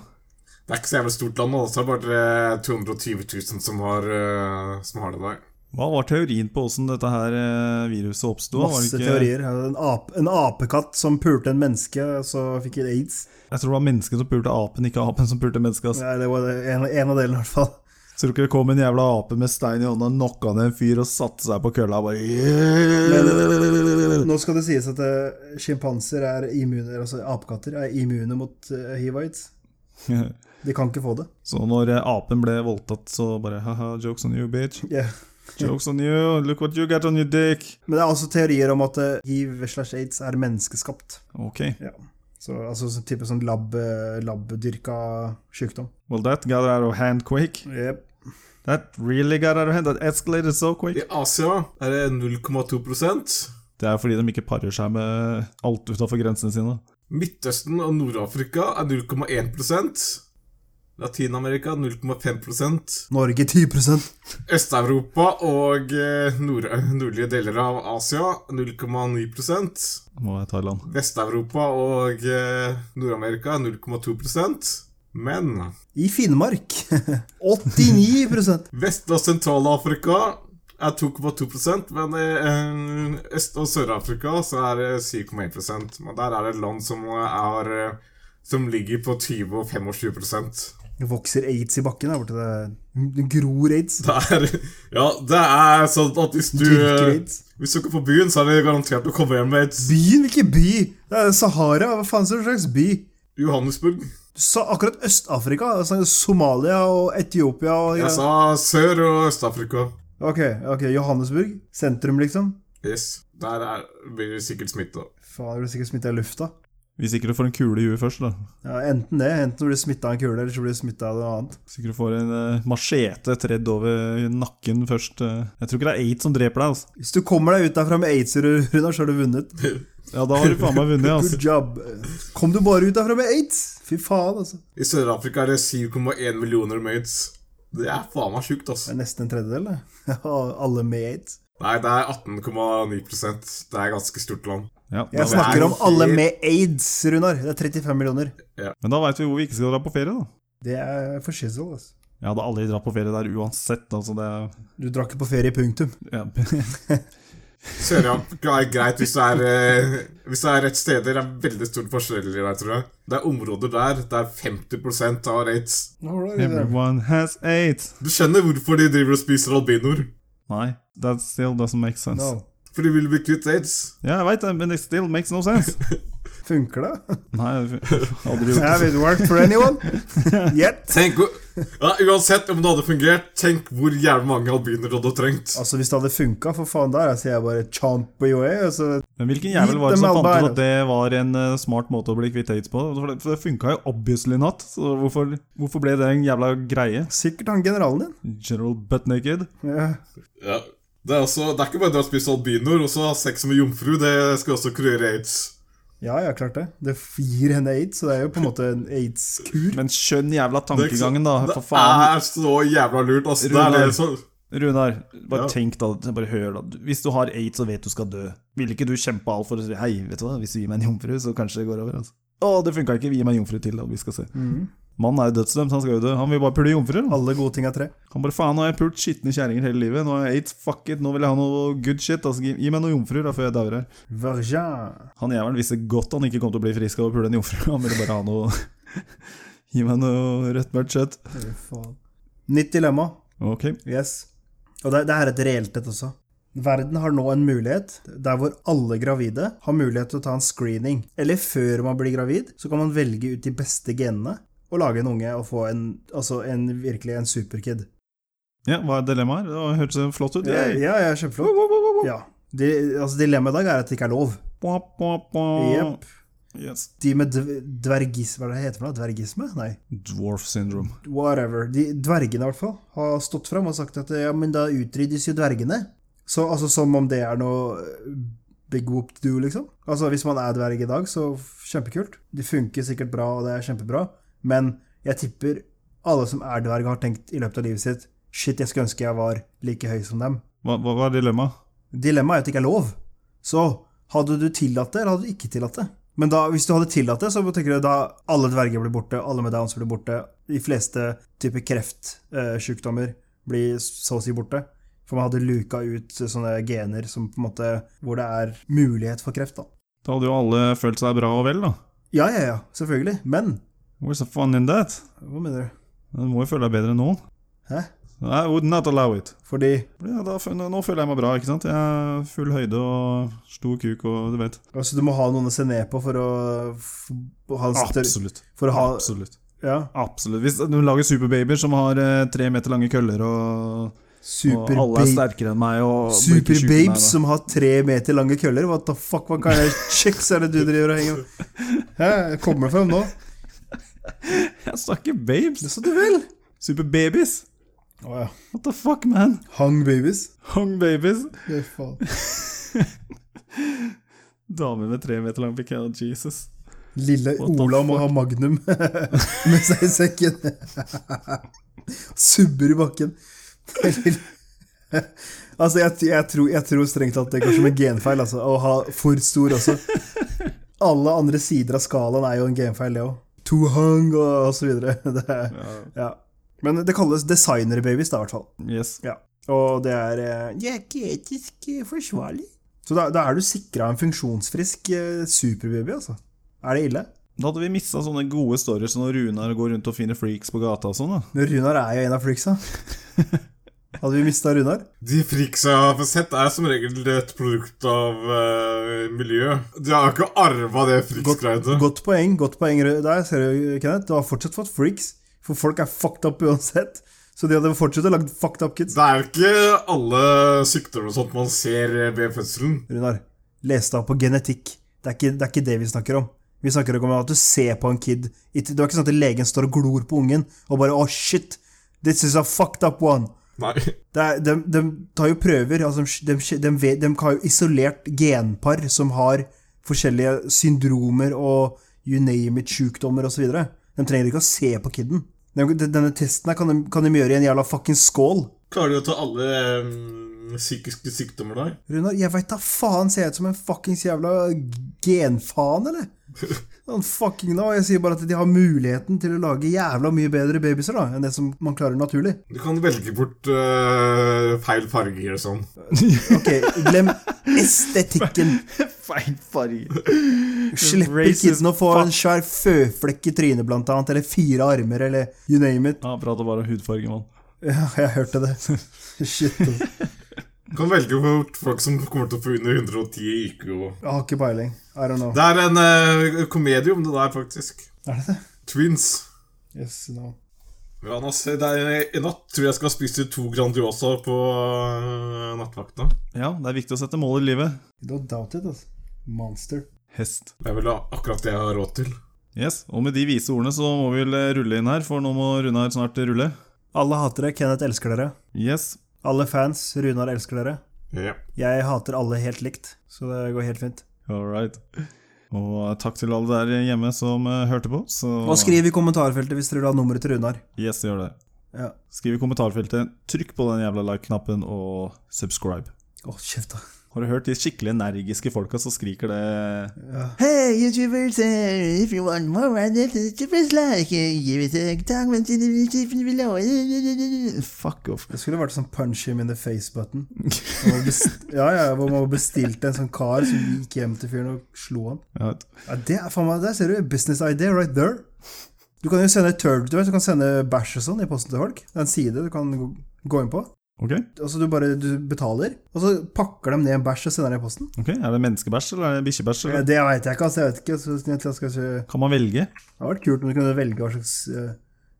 C: Det er ikke så jævlig stort land, og så er det bare eh, 220 000 som har, eh, som har det der.
A: Hva var teorien på åssen dette her eh, viruset oppsto? Var det
B: Masse
A: ikke-
B: teorier. En, ape, en apekatt som pulte en menneske, og så fikk en aids.
A: Jeg tror det var mennesket som pulte apen, ikke apen som pulte mennesket. Altså.
B: Ja, det var det- en, en av delene, i hvert fall.
A: Tror ikke det kom en jævla ape med stein i hånda, knocka ned en fyr og satte seg på kølla og bare
B: Nå skal det sies at eh, sjimpanser er immune, altså apekatter er immune mot eh, hiv og aids. De kan ikke få det.
A: (laughs) Så når eh, apen ble voldtatt, så bare haha, jokes on you, bitch.
B: Ja.
A: Jokes on you, look what you got on your dick.
B: Men det er også teorier om at eh, hiv slash aids er menneskeskapt.
A: Ok,
B: Ja. Så, altså sånn type sånn lab, eh, labbedyrka sjukdom.
A: well that got out of hand quick.
B: Yep.
A: That really got out of hand, that escalated so quick.
C: I Asia er det 0,2
A: Det er fordi de ikke parer seg med alt utafor grensene sine.
C: Midtøsten og Nord-Afrika er 0,1 Latin-Amerika 0,5
B: Norge 10
C: Øst-Europa og eh, nord nordlige deler av Asia 0,9
A: Må være Thailand.
C: Vest-Europa og eh, Nord-Amerika 0,2 Men
B: I Finnmark (laughs) 89
C: Vest- og Sentral-Afrika er 2,2 men i eh, Øst- og Sør-Afrika så er det 7,1 Men der er det land som, er, eh, som ligger på 20 og 25
B: Det vokser aids i bakken der borte. Det det gror aids.
C: Det er, ja, det er sånn at hvis du eh,
B: Dyrker aids.
C: Hvis du ikke er på byen, så er det garantert å komme hjem med et
B: Byen? Hvilken by? Det er Sahara? Hva faen er det slags by?
C: Johannesburg.
B: Du sa akkurat Øst-Afrika. Jeg snakket Somalia og Etiopia og
C: Jeg sa Sør- og Øst-Afrika.
B: Ok, ok, Johannesburg. Sentrum, liksom.
C: Yes. Der er, blir det sikkert smitte.
B: Faen, du blir sikkert smitta i lufta.
A: Hvis ikke du får en kule i huet først, da.
B: Ja, enten det, enten du blir smitta av en kule, eller så blir du smitta av noe annet.
A: Hvis ikke du får en eh, machete tredd over nakken først. eh. Jeg tror ikke det er aids som dreper deg, altså.
B: Hvis du kommer deg ut derfra med aids, Runar, så har du vunnet.
A: Ja, da har du faen meg vunnet, altså.
B: Good job. Kom du bare ut derfra med aids? Fy faen, altså.
C: I Sør-Afrika er det 7,1 millioner mates. Det er faen meg sjukt,
B: Det
C: altså.
B: er nesten en tredjedel, det. (laughs) Ja, Alle med aids.
C: Nei, det er 18,9 Det er ganske stort land.
A: Ja, da,
B: Jeg snakker om alle med aids, Runar. Det er 35 millioner.
A: men da veit vi hvor vi ikke skal dra på ferie, da.
B: Det er for shizzle, altså.
A: Jeg hadde aldri dratt på ferie der uansett, altså. Det er
B: Du drar ikke på ferie, punktum.
A: ja.
C: Sør-Afrika er greit hvis det er, eh, hvis det er rett steder. Det er veldig store forskjeller der, tror jeg. Det er områder der der 50 har aids.
A: Everyone has aids.
C: Du skjønner hvorfor de driver og spiser albinoer.
A: Nei, that still doesn't make sense.
B: No.
C: For de vil bli kvitt aids.
A: Ja, jeg veit det, men it still makes no sense.
B: Funker det?
A: Nei, aldri gjort det.
B: Have it worked for
A: (laughs)
B: anyone? Yet?
C: Tenk hvor- ja, Uansett om det hadde fungert, tenk hvor jævlig mange albiner du hadde trengt.
B: Altså, hvis det hadde funka, for faen, der sier jeg bare chomp og joe. Altså,
A: Men hvilken jævel var det
B: Gitt
A: som
B: dem
A: fant ut
B: alder.
A: at det var en eh, smart måte å bli kvitt aids på? For det, for det funka jo obviously not, så hvorfor, hvorfor ble det en jævla greie?
B: sikkert han generalen din.
A: General butt naked?
B: Ja.
C: Ja. Det er, også, det er ikke bare det å spise albinoer, også ha sex med jomfru. Det skal også kurere aids.
B: ja, ja, klart det. Det gir henne aids, så det er jo på en måte en aids-kur.
A: Men skjønn jævla
C: Det er ikke så-
A: tankegangen, da,
C: Det
A: for faen.
C: er så jævla lurt, altså. Det er
A: Runar.
C: det som
A: Runar, bare
C: Ja.
A: tenk da, bare hør da. Hvis du har aids og vet du skal dø, ville ikke du kjempa alt for å si hei, vet du hva, hvis du gir meg en jomfru, så kanskje det går over? altså. Å, det funka ikke, gi meg en jomfru til, da, vi skal se.
C: Mhm.
A: Mannen er jo dødsdømt, han skal jo dø. Han vil bare pule jomfruer. han.
B: Alle gode ting er tre.
A: Han bare faen, nå har jeg pult skitne kjerringer hele livet. Nå har jeg aids, fuck it, nå vil jeg ha noe good shit. Altså, gi, gi meg noen jomfruer da, før jeg dauer her.
B: Vergin.
A: Han jævelen visste godt han ikke kom til å bli frisk av å pule en jomfru. Han ville bare ha noe (laughs) Gi meg noe rødt, mørkt kjøtt.
B: Fy faen. Nytt dilemma.
A: Ok.
B: Yes. Og det, det her er et reelt et også. Verden har nå en mulighet der hvor alle gravide har mulighet til å ta en screening. Eller før man blir gravid, så kan man velge ut de beste genene og lage en unge og få en, altså en virkelig en superkid.
A: Ja, hva er dilemmaet? her? Det hørtes flott ut.
B: Ja,
A: Yay.
B: ja, ja kjempeflott. Ja. De, altså, dilemmaet i dag er at det ikke er lov.
A: Bwa, bwa, bwa.
B: Jep.
A: Yes.
B: De med dv- dvergisme, hva er det heter for noe? Dvergisme? Nei.
A: Dwarf syndrome.
B: Whatever. De dvergene, i hvert fall, har stått fram og sagt at ja, men da utryddes jo dvergene. Så altså som om det er noe eh, big whoop to do, liksom. Altså hvis man er dverg i dag, så f- kjempekult. Det funker sikkert bra, og det er kjempebra. Men jeg tipper alle som er dverg, har tenkt i løpet av livet sitt Shit, jeg skulle ønske jeg var like høy som dem.
A: Hva, hva, hva er dilemmaet?
B: Dilemmaet er at det ikke er lov. Så hadde du tillatt det, eller hadde du ikke tillatt det? Men da, hvis du hadde tillatt det, så tenker du da alle dverger blir borte, alle med downs blir borte, de fleste typer kreftsykdommer blir så å si borte. For man hadde luka ut sånne gener som på en måte, hvor det er mulighet for kreft. da.
A: Da hadde jo alle følt seg bra og vel, da.
B: Ja, ja, ja, selvfølgelig. Men
A: Where's the fun in that?
B: Hva mener du?
A: Du må jo føle deg bedre enn noen.
B: Hæ?
A: I would not allow it.
B: Fordi
A: Ja, da, føl- nå føler jeg meg bra, ikke sant? Jeg er full høyde og stor kuk og du vet.
B: altså, du må ha noen å se ned på for å for, ha en større-
A: Absolutt.
B: For å ha,
A: Absolutt.
B: ja,
A: Absolutt. Hvis du lager superbabyer som har eh, tre meter lange køller, og, og alle er
B: superbaby.
A: sterkere enn meg og blir ikke syke med meg,
B: Superbabes
A: da.
B: som har tre meter lange køller? What the fuck, hva kan
A: (laughs)
B: jeg chicks er det du driver og henger med? Hæ, kommer det frem nå?
A: Jeg snakker babes!
B: Så du vil?
A: Superbabies!
B: Å ja.
A: What the fuck, man?
B: Hung babies?
A: Hung babies!
B: Fy faen.
A: Damer med tre meter lang pikk. oh, Jesus.
B: Lille
A: What the
B: Ola må ha magnum (laughs) med seg i sekken. Subber i bakken. (laughs) altså, jeg, jeg, tror, jeg tror strengt tatt det går som en genfeil, altså. Å ha for stor også. Alle andre sider av skalaen er jo en genfeil, det òg. Too hung og, og så videre. (laughs) Det, er- ja. Men det kalles designerbabies, da, i hvert fall.
A: Yes.
B: Ja. Og det er eh, Det er ikke etisk eh, forsvarlig. Så da, da er du sikra en funksjonsfrisk eh, superbaby, altså. Er det ille?
A: Da hadde vi mista sånne gode stories når Runar går rundt og finner freaks på gata og sånn. da
B: Men Runar er jo en av (laughs) freaksa. Hadde vi mista Runar?
C: De freaksa jeg har sett, er som regel et produkt av eh, miljø. De har ikke arva det freaks-greiene.
B: Godt poeng. godt poeng Rø- der, ser du, Kenneth. Du har fortsatt fått freaks, for folk er fucked up uansett. Så de hadde fortsatt å lage fucked up kids.
C: Det er jo ikke alle sykdommer og sånt man ser ved fødselen.
B: Runar, les deg opp på genetikk. Det er, ikke, det er ikke det vi snakker om. Vi snakker ikke om at du ser på en kid. Ikke- Det er ikke sånn at legen står og glor på ungen og bare 'Å, shit! This is a fucked up one'.
C: Nei.
B: Det er, de, de tar jo prøver. Altså de, de, de, vet- de har jo isolert genpar som har forskjellige syndromer og you name it-sjukdommer osv. De trenger ikke å se på kiden. De- de- Denne testen her kan de, kan de gjøre i en jævla fuckings skål.
C: Klarer de å ta alle eh, psykiske sykdommer der?
B: Runar, jeg veit da faen, ser jeg ut som en fuckings jævla genfaen, (laughs) eller? Sånn fucking nå, Jeg sier bare at de har muligheten til å lage jævla mye bedre babyser da, enn det som man klarer naturlig.
C: Du kan velge bort eh, feil farger og sånn.
B: Ok, (laughs) glem estetikken.
A: (laughs) Feil farge.
B: Slipper
A: Racist
B: kidsen å få
A: fuck.
B: en svær føflekk i trynet, blant annet, eller fire armer, eller you name it.
A: Ja, Prata bare om hudfarge, mann.
B: Ja, jeg hørte det. (laughs) Shit. ass.
C: Du kan velge bort folk som kommer til å få under 110 i IQ.
B: Jeg har ikke peiling. I don't know.
C: Det er en eh, komedie om det der, faktisk.
B: Er det det?
C: Twins.
B: Yes, no.
C: Ja, Nass, det er, eh, I natt tror jeg jeg skal spise to Grandiosa på eh, nattvakta.
A: Ja, det er viktig å sette mål i livet.
B: Don't doubt it, altså. Monster.
A: Hest.
C: Det er vel akkurat det jeg har råd til.
A: Yes, Og med de vise ordene så må vi vel eh, rulle inn her, for nå må Runar snart rulle.
B: Alle hater dere. Kenneth elsker dere.
A: Yes.
B: Alle fans. Runar elsker dere.
C: Ja.
B: Jeg hater alle helt likt, så det går helt fint.
A: All right. Og eh, takk til alle der hjemme som eh, hørte på. Så
B: Og skriv i kommentarfeltet hvis dere vil ha nummeret til Runar.
A: Yes, gjør det.
B: Ja.
A: Skriv i kommentarfeltet. Trykk på den jævla like-knappen, og subscribe.
B: Å, kjeft, da.
A: Har du hørt de skikkelig energiske folka som skriker det
F: Hey, YouTubers, uh, if you want more of this, uh, just like, uh, give it a comment in the description below.
A: Fuck off.
B: Det skulle vært sånn punch him in the face-button. Ja, ja, hvor man bestilte en sånn kar som gikk hjem til fyren og slo han.
A: Jeg vet.
B: Ja, det er faen meg, Der ser du business idea right there. Du kan jo sende turd, du vet, du kan sende bæsj og sånn i posten til folk. Det er en side du kan gå- gå inn på.
A: Ok,
B: Altså, Du bare du betaler, og så pakker de ned en bæsj og sender den i posten.
A: ok, Er det menneskebæsj eller er det bikkjebæsj?
B: Ja,
A: eller?
B: det veit jeg ikke, altså. Jeg vet ikke, så jeg skal ikke
A: Kan man velge?
B: Det hadde vært kult om du kunne velge hva slags eh,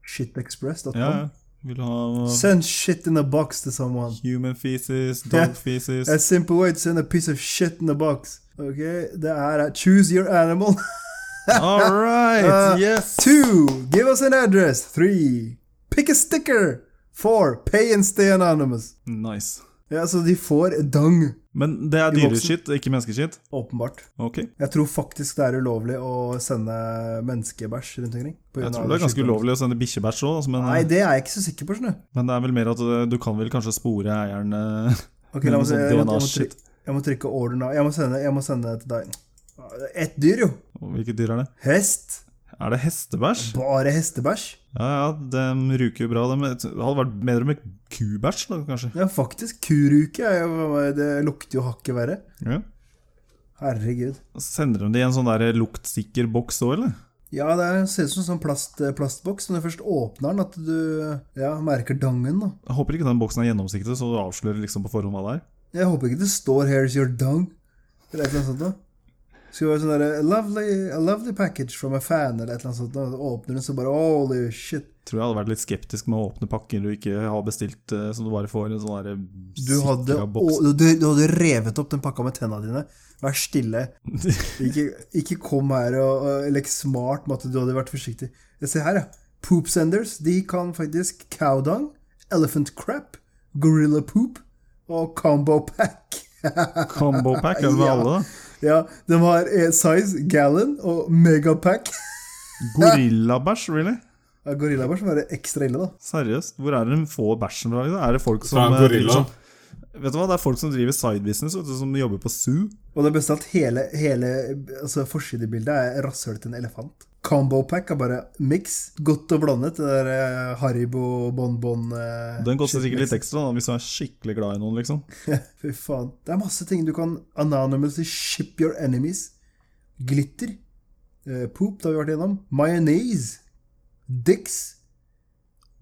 B: shitexpress.com.
A: Ja, ja. Vil du ha
B: Send shit in a box to someone.
A: human feces, dog feces
B: A simple way to send a piece of shit in a box. Ok, det er eh, Choose your animal. (laughs)
A: All right,
B: Eh.
A: yes!
B: Two, give us an address. Three, pick a sticker. Four, pay and stay anonymous.
A: Nice.
B: Ja, så de får dang,
A: Men det er
B: I boksen.
A: dyreskitt, ikke menneskeskitt?
B: åpenbart.
A: Ok.
B: Jeg tror faktisk det er ulovlig å sende menneskebæsj rundt omkring. på grunn
A: Jeg
B: av
A: tror det er ganske
B: sykdom.
A: ulovlig å sende bikkjebæsj òg, men,
B: Nei, det er jeg ikke så sikker på, skjønner du.
A: men det er vel mer at eh, du kan vel kanskje spore eieren eh,
B: Ok,
A: med
B: la
A: noe
B: meg se.
A: sånn
B: Jeg, må- jeg, må
A: DNA-shit.
B: trykke, jeg må trykke order nå. Jeg må sende, jeg må sende til deg. Ett dyr, jo.
A: Hvilket dyr er det?
B: Hest.
A: Er det hestebæsj?
B: Bare hestebæsj.
A: Ja ja, de ruker jo bra. dem. Det hadde vært bedre med kubæsj, da, kanskje.
B: Ja, faktisk. Kuruke er jo Det lukter jo hakket verre.
A: Ja.
B: Herregud.
A: Sender de det i en sånn der luktsikker boks òg, eller?
B: Ja, det er- ser ut som en sånn plast, plastboks. Når du først åpner den, at du ja, merker dangen. da.
A: Jeg håper ikke den boksen er gjennomsiktig, så du avslører liksom på forhånd hva det er.
B: Jeg håper ikke det står 'Here's your dung'. Eller et eller annet sånt noe. Skal være sånn derre lovely, 'A lovely package from a fan', eller et eller annet sånt. noe. Åpner den, så bare 'Holy shit'.
A: Tror jeg hadde vært litt skeptisk med å åpne pakker du ikke har bestilt, eh, som du bare får i en sånn der
B: Du hadde,
A: sikra
B: å,
A: boks.
B: du, du hadde revet opp den pakka med tenna dine. Vær stille. Ikke, ikke kom her og, og lek smart med at du hadde vært forsiktig. Jeg ser her, ja. Poopsenders de kan faktisk cowdung, elephant crap, gorilla poop og combo pack.
A: (laughs) Combo pack er det med
B: Ja.
A: alle, da.
B: Ja, de har eh, size, gallon og megapack.
A: Gorillabæsj, really?
B: Ja, Gorillabæsj må være ekstra ille, da.
A: Seriøst, hvor er det de får bæsjen fra? liksom? Er det folk
C: Fra
A: som
C: en
A: eh,
C: gorilla.
A: driver sånn- Vet du hva, det er folk som driver sidebusiness, vet du, som jobber på zoo.
B: Og det beste er at hele, hele altså forsidebildet er rasshøl til en elefant. Combo pack er bare mix. Godt og blandet. Det der eh, Haribo bonbon eh,
A: Den koster
B: shit
A: sikkert litt
B: mix.
A: ekstra da, hvis du er skikkelig glad i noen, liksom.
B: Fy faen. Det er masse ting du kan anonymously ship your enemies. Glitter. eh, poop, det har vi vært igjennom. Mayonnaise. Dicks.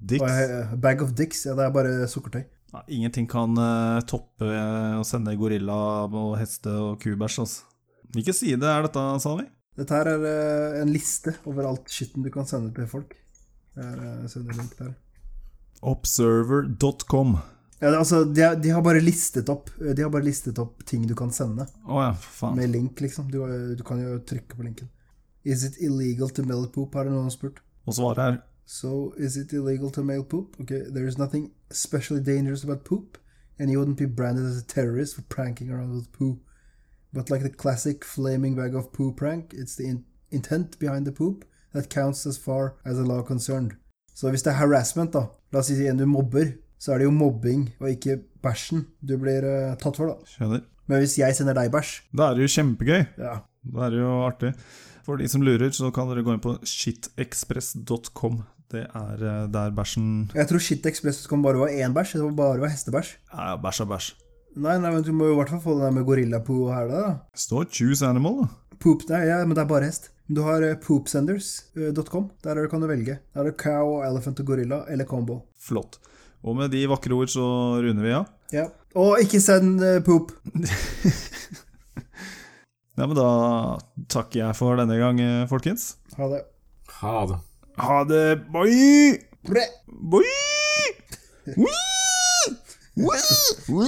B: Og,
A: Dicks.
B: eh, bag of dicks. Ja, det er bare sukkertøy.
A: Nei, ingenting kan eh, toppe eh, å sende gorilla og heste og kubæsj, altså. Hvilken side er dette, sa vi?
B: Dette her er eh, en liste over alt skitten du kan sende til folk. Det er, eh, sender link der.
A: Observer.com.
B: Ja, det, er altså, de, har- de har bare listet opp eh, De har bare listet opp ting du kan sende
A: Å ja, for faen.
B: med link, liksom. Du, eh, du kan jo trykke på linken. Is it illegal to mail poop? har det noen spurt.
A: Og svaret er
B: So, is it illegal to mail poop? Okay, there is nothing especially dangerous about poop, and you wouldn't be branded as a terrorist for pranking around with poo. But like the classic flaming bag of poo prank, it's the in intent behind the poop that counts as far as the law concerned. Så hvis det er harassment, da, la oss si en du mobber, så er det jo mobbing og ikke bæsjen du blir eh, tatt for, da.
A: Skjønner.
B: Men hvis jeg sender deg bæsj,
A: Da er det jo kjempegøy.
B: ja,
A: Da er det jo artig. For de som lurer, så kan dere gå inn på shitexpress.com. Det er eh, der bæsjen
B: Jeg tror Shit Express kom bare var én bæsj, det var bare var hestebæsj.
A: Ja, bæsj er bæsj.
B: Nei, nei, men du må jo i hvert fall få den der med gorillapoo her, da.
A: Står 'choose animal', da.
B: Poop, nei, ja, men det er bare hest. Du har eh, poopsenders.com. Der er det- kan du velge. Der er det cow, elephant og gorilla, eller combo.
A: Flott. Og med de vakre ord så runder vi av.
B: Ja. Og ikke send eh, poop!
A: Ja, men da takker jeg for denne gang, eh, folkens.
B: Ha det.
C: Ha det.
A: Ha det. Bye!
B: Bre!
A: Bye! Wee! Wee!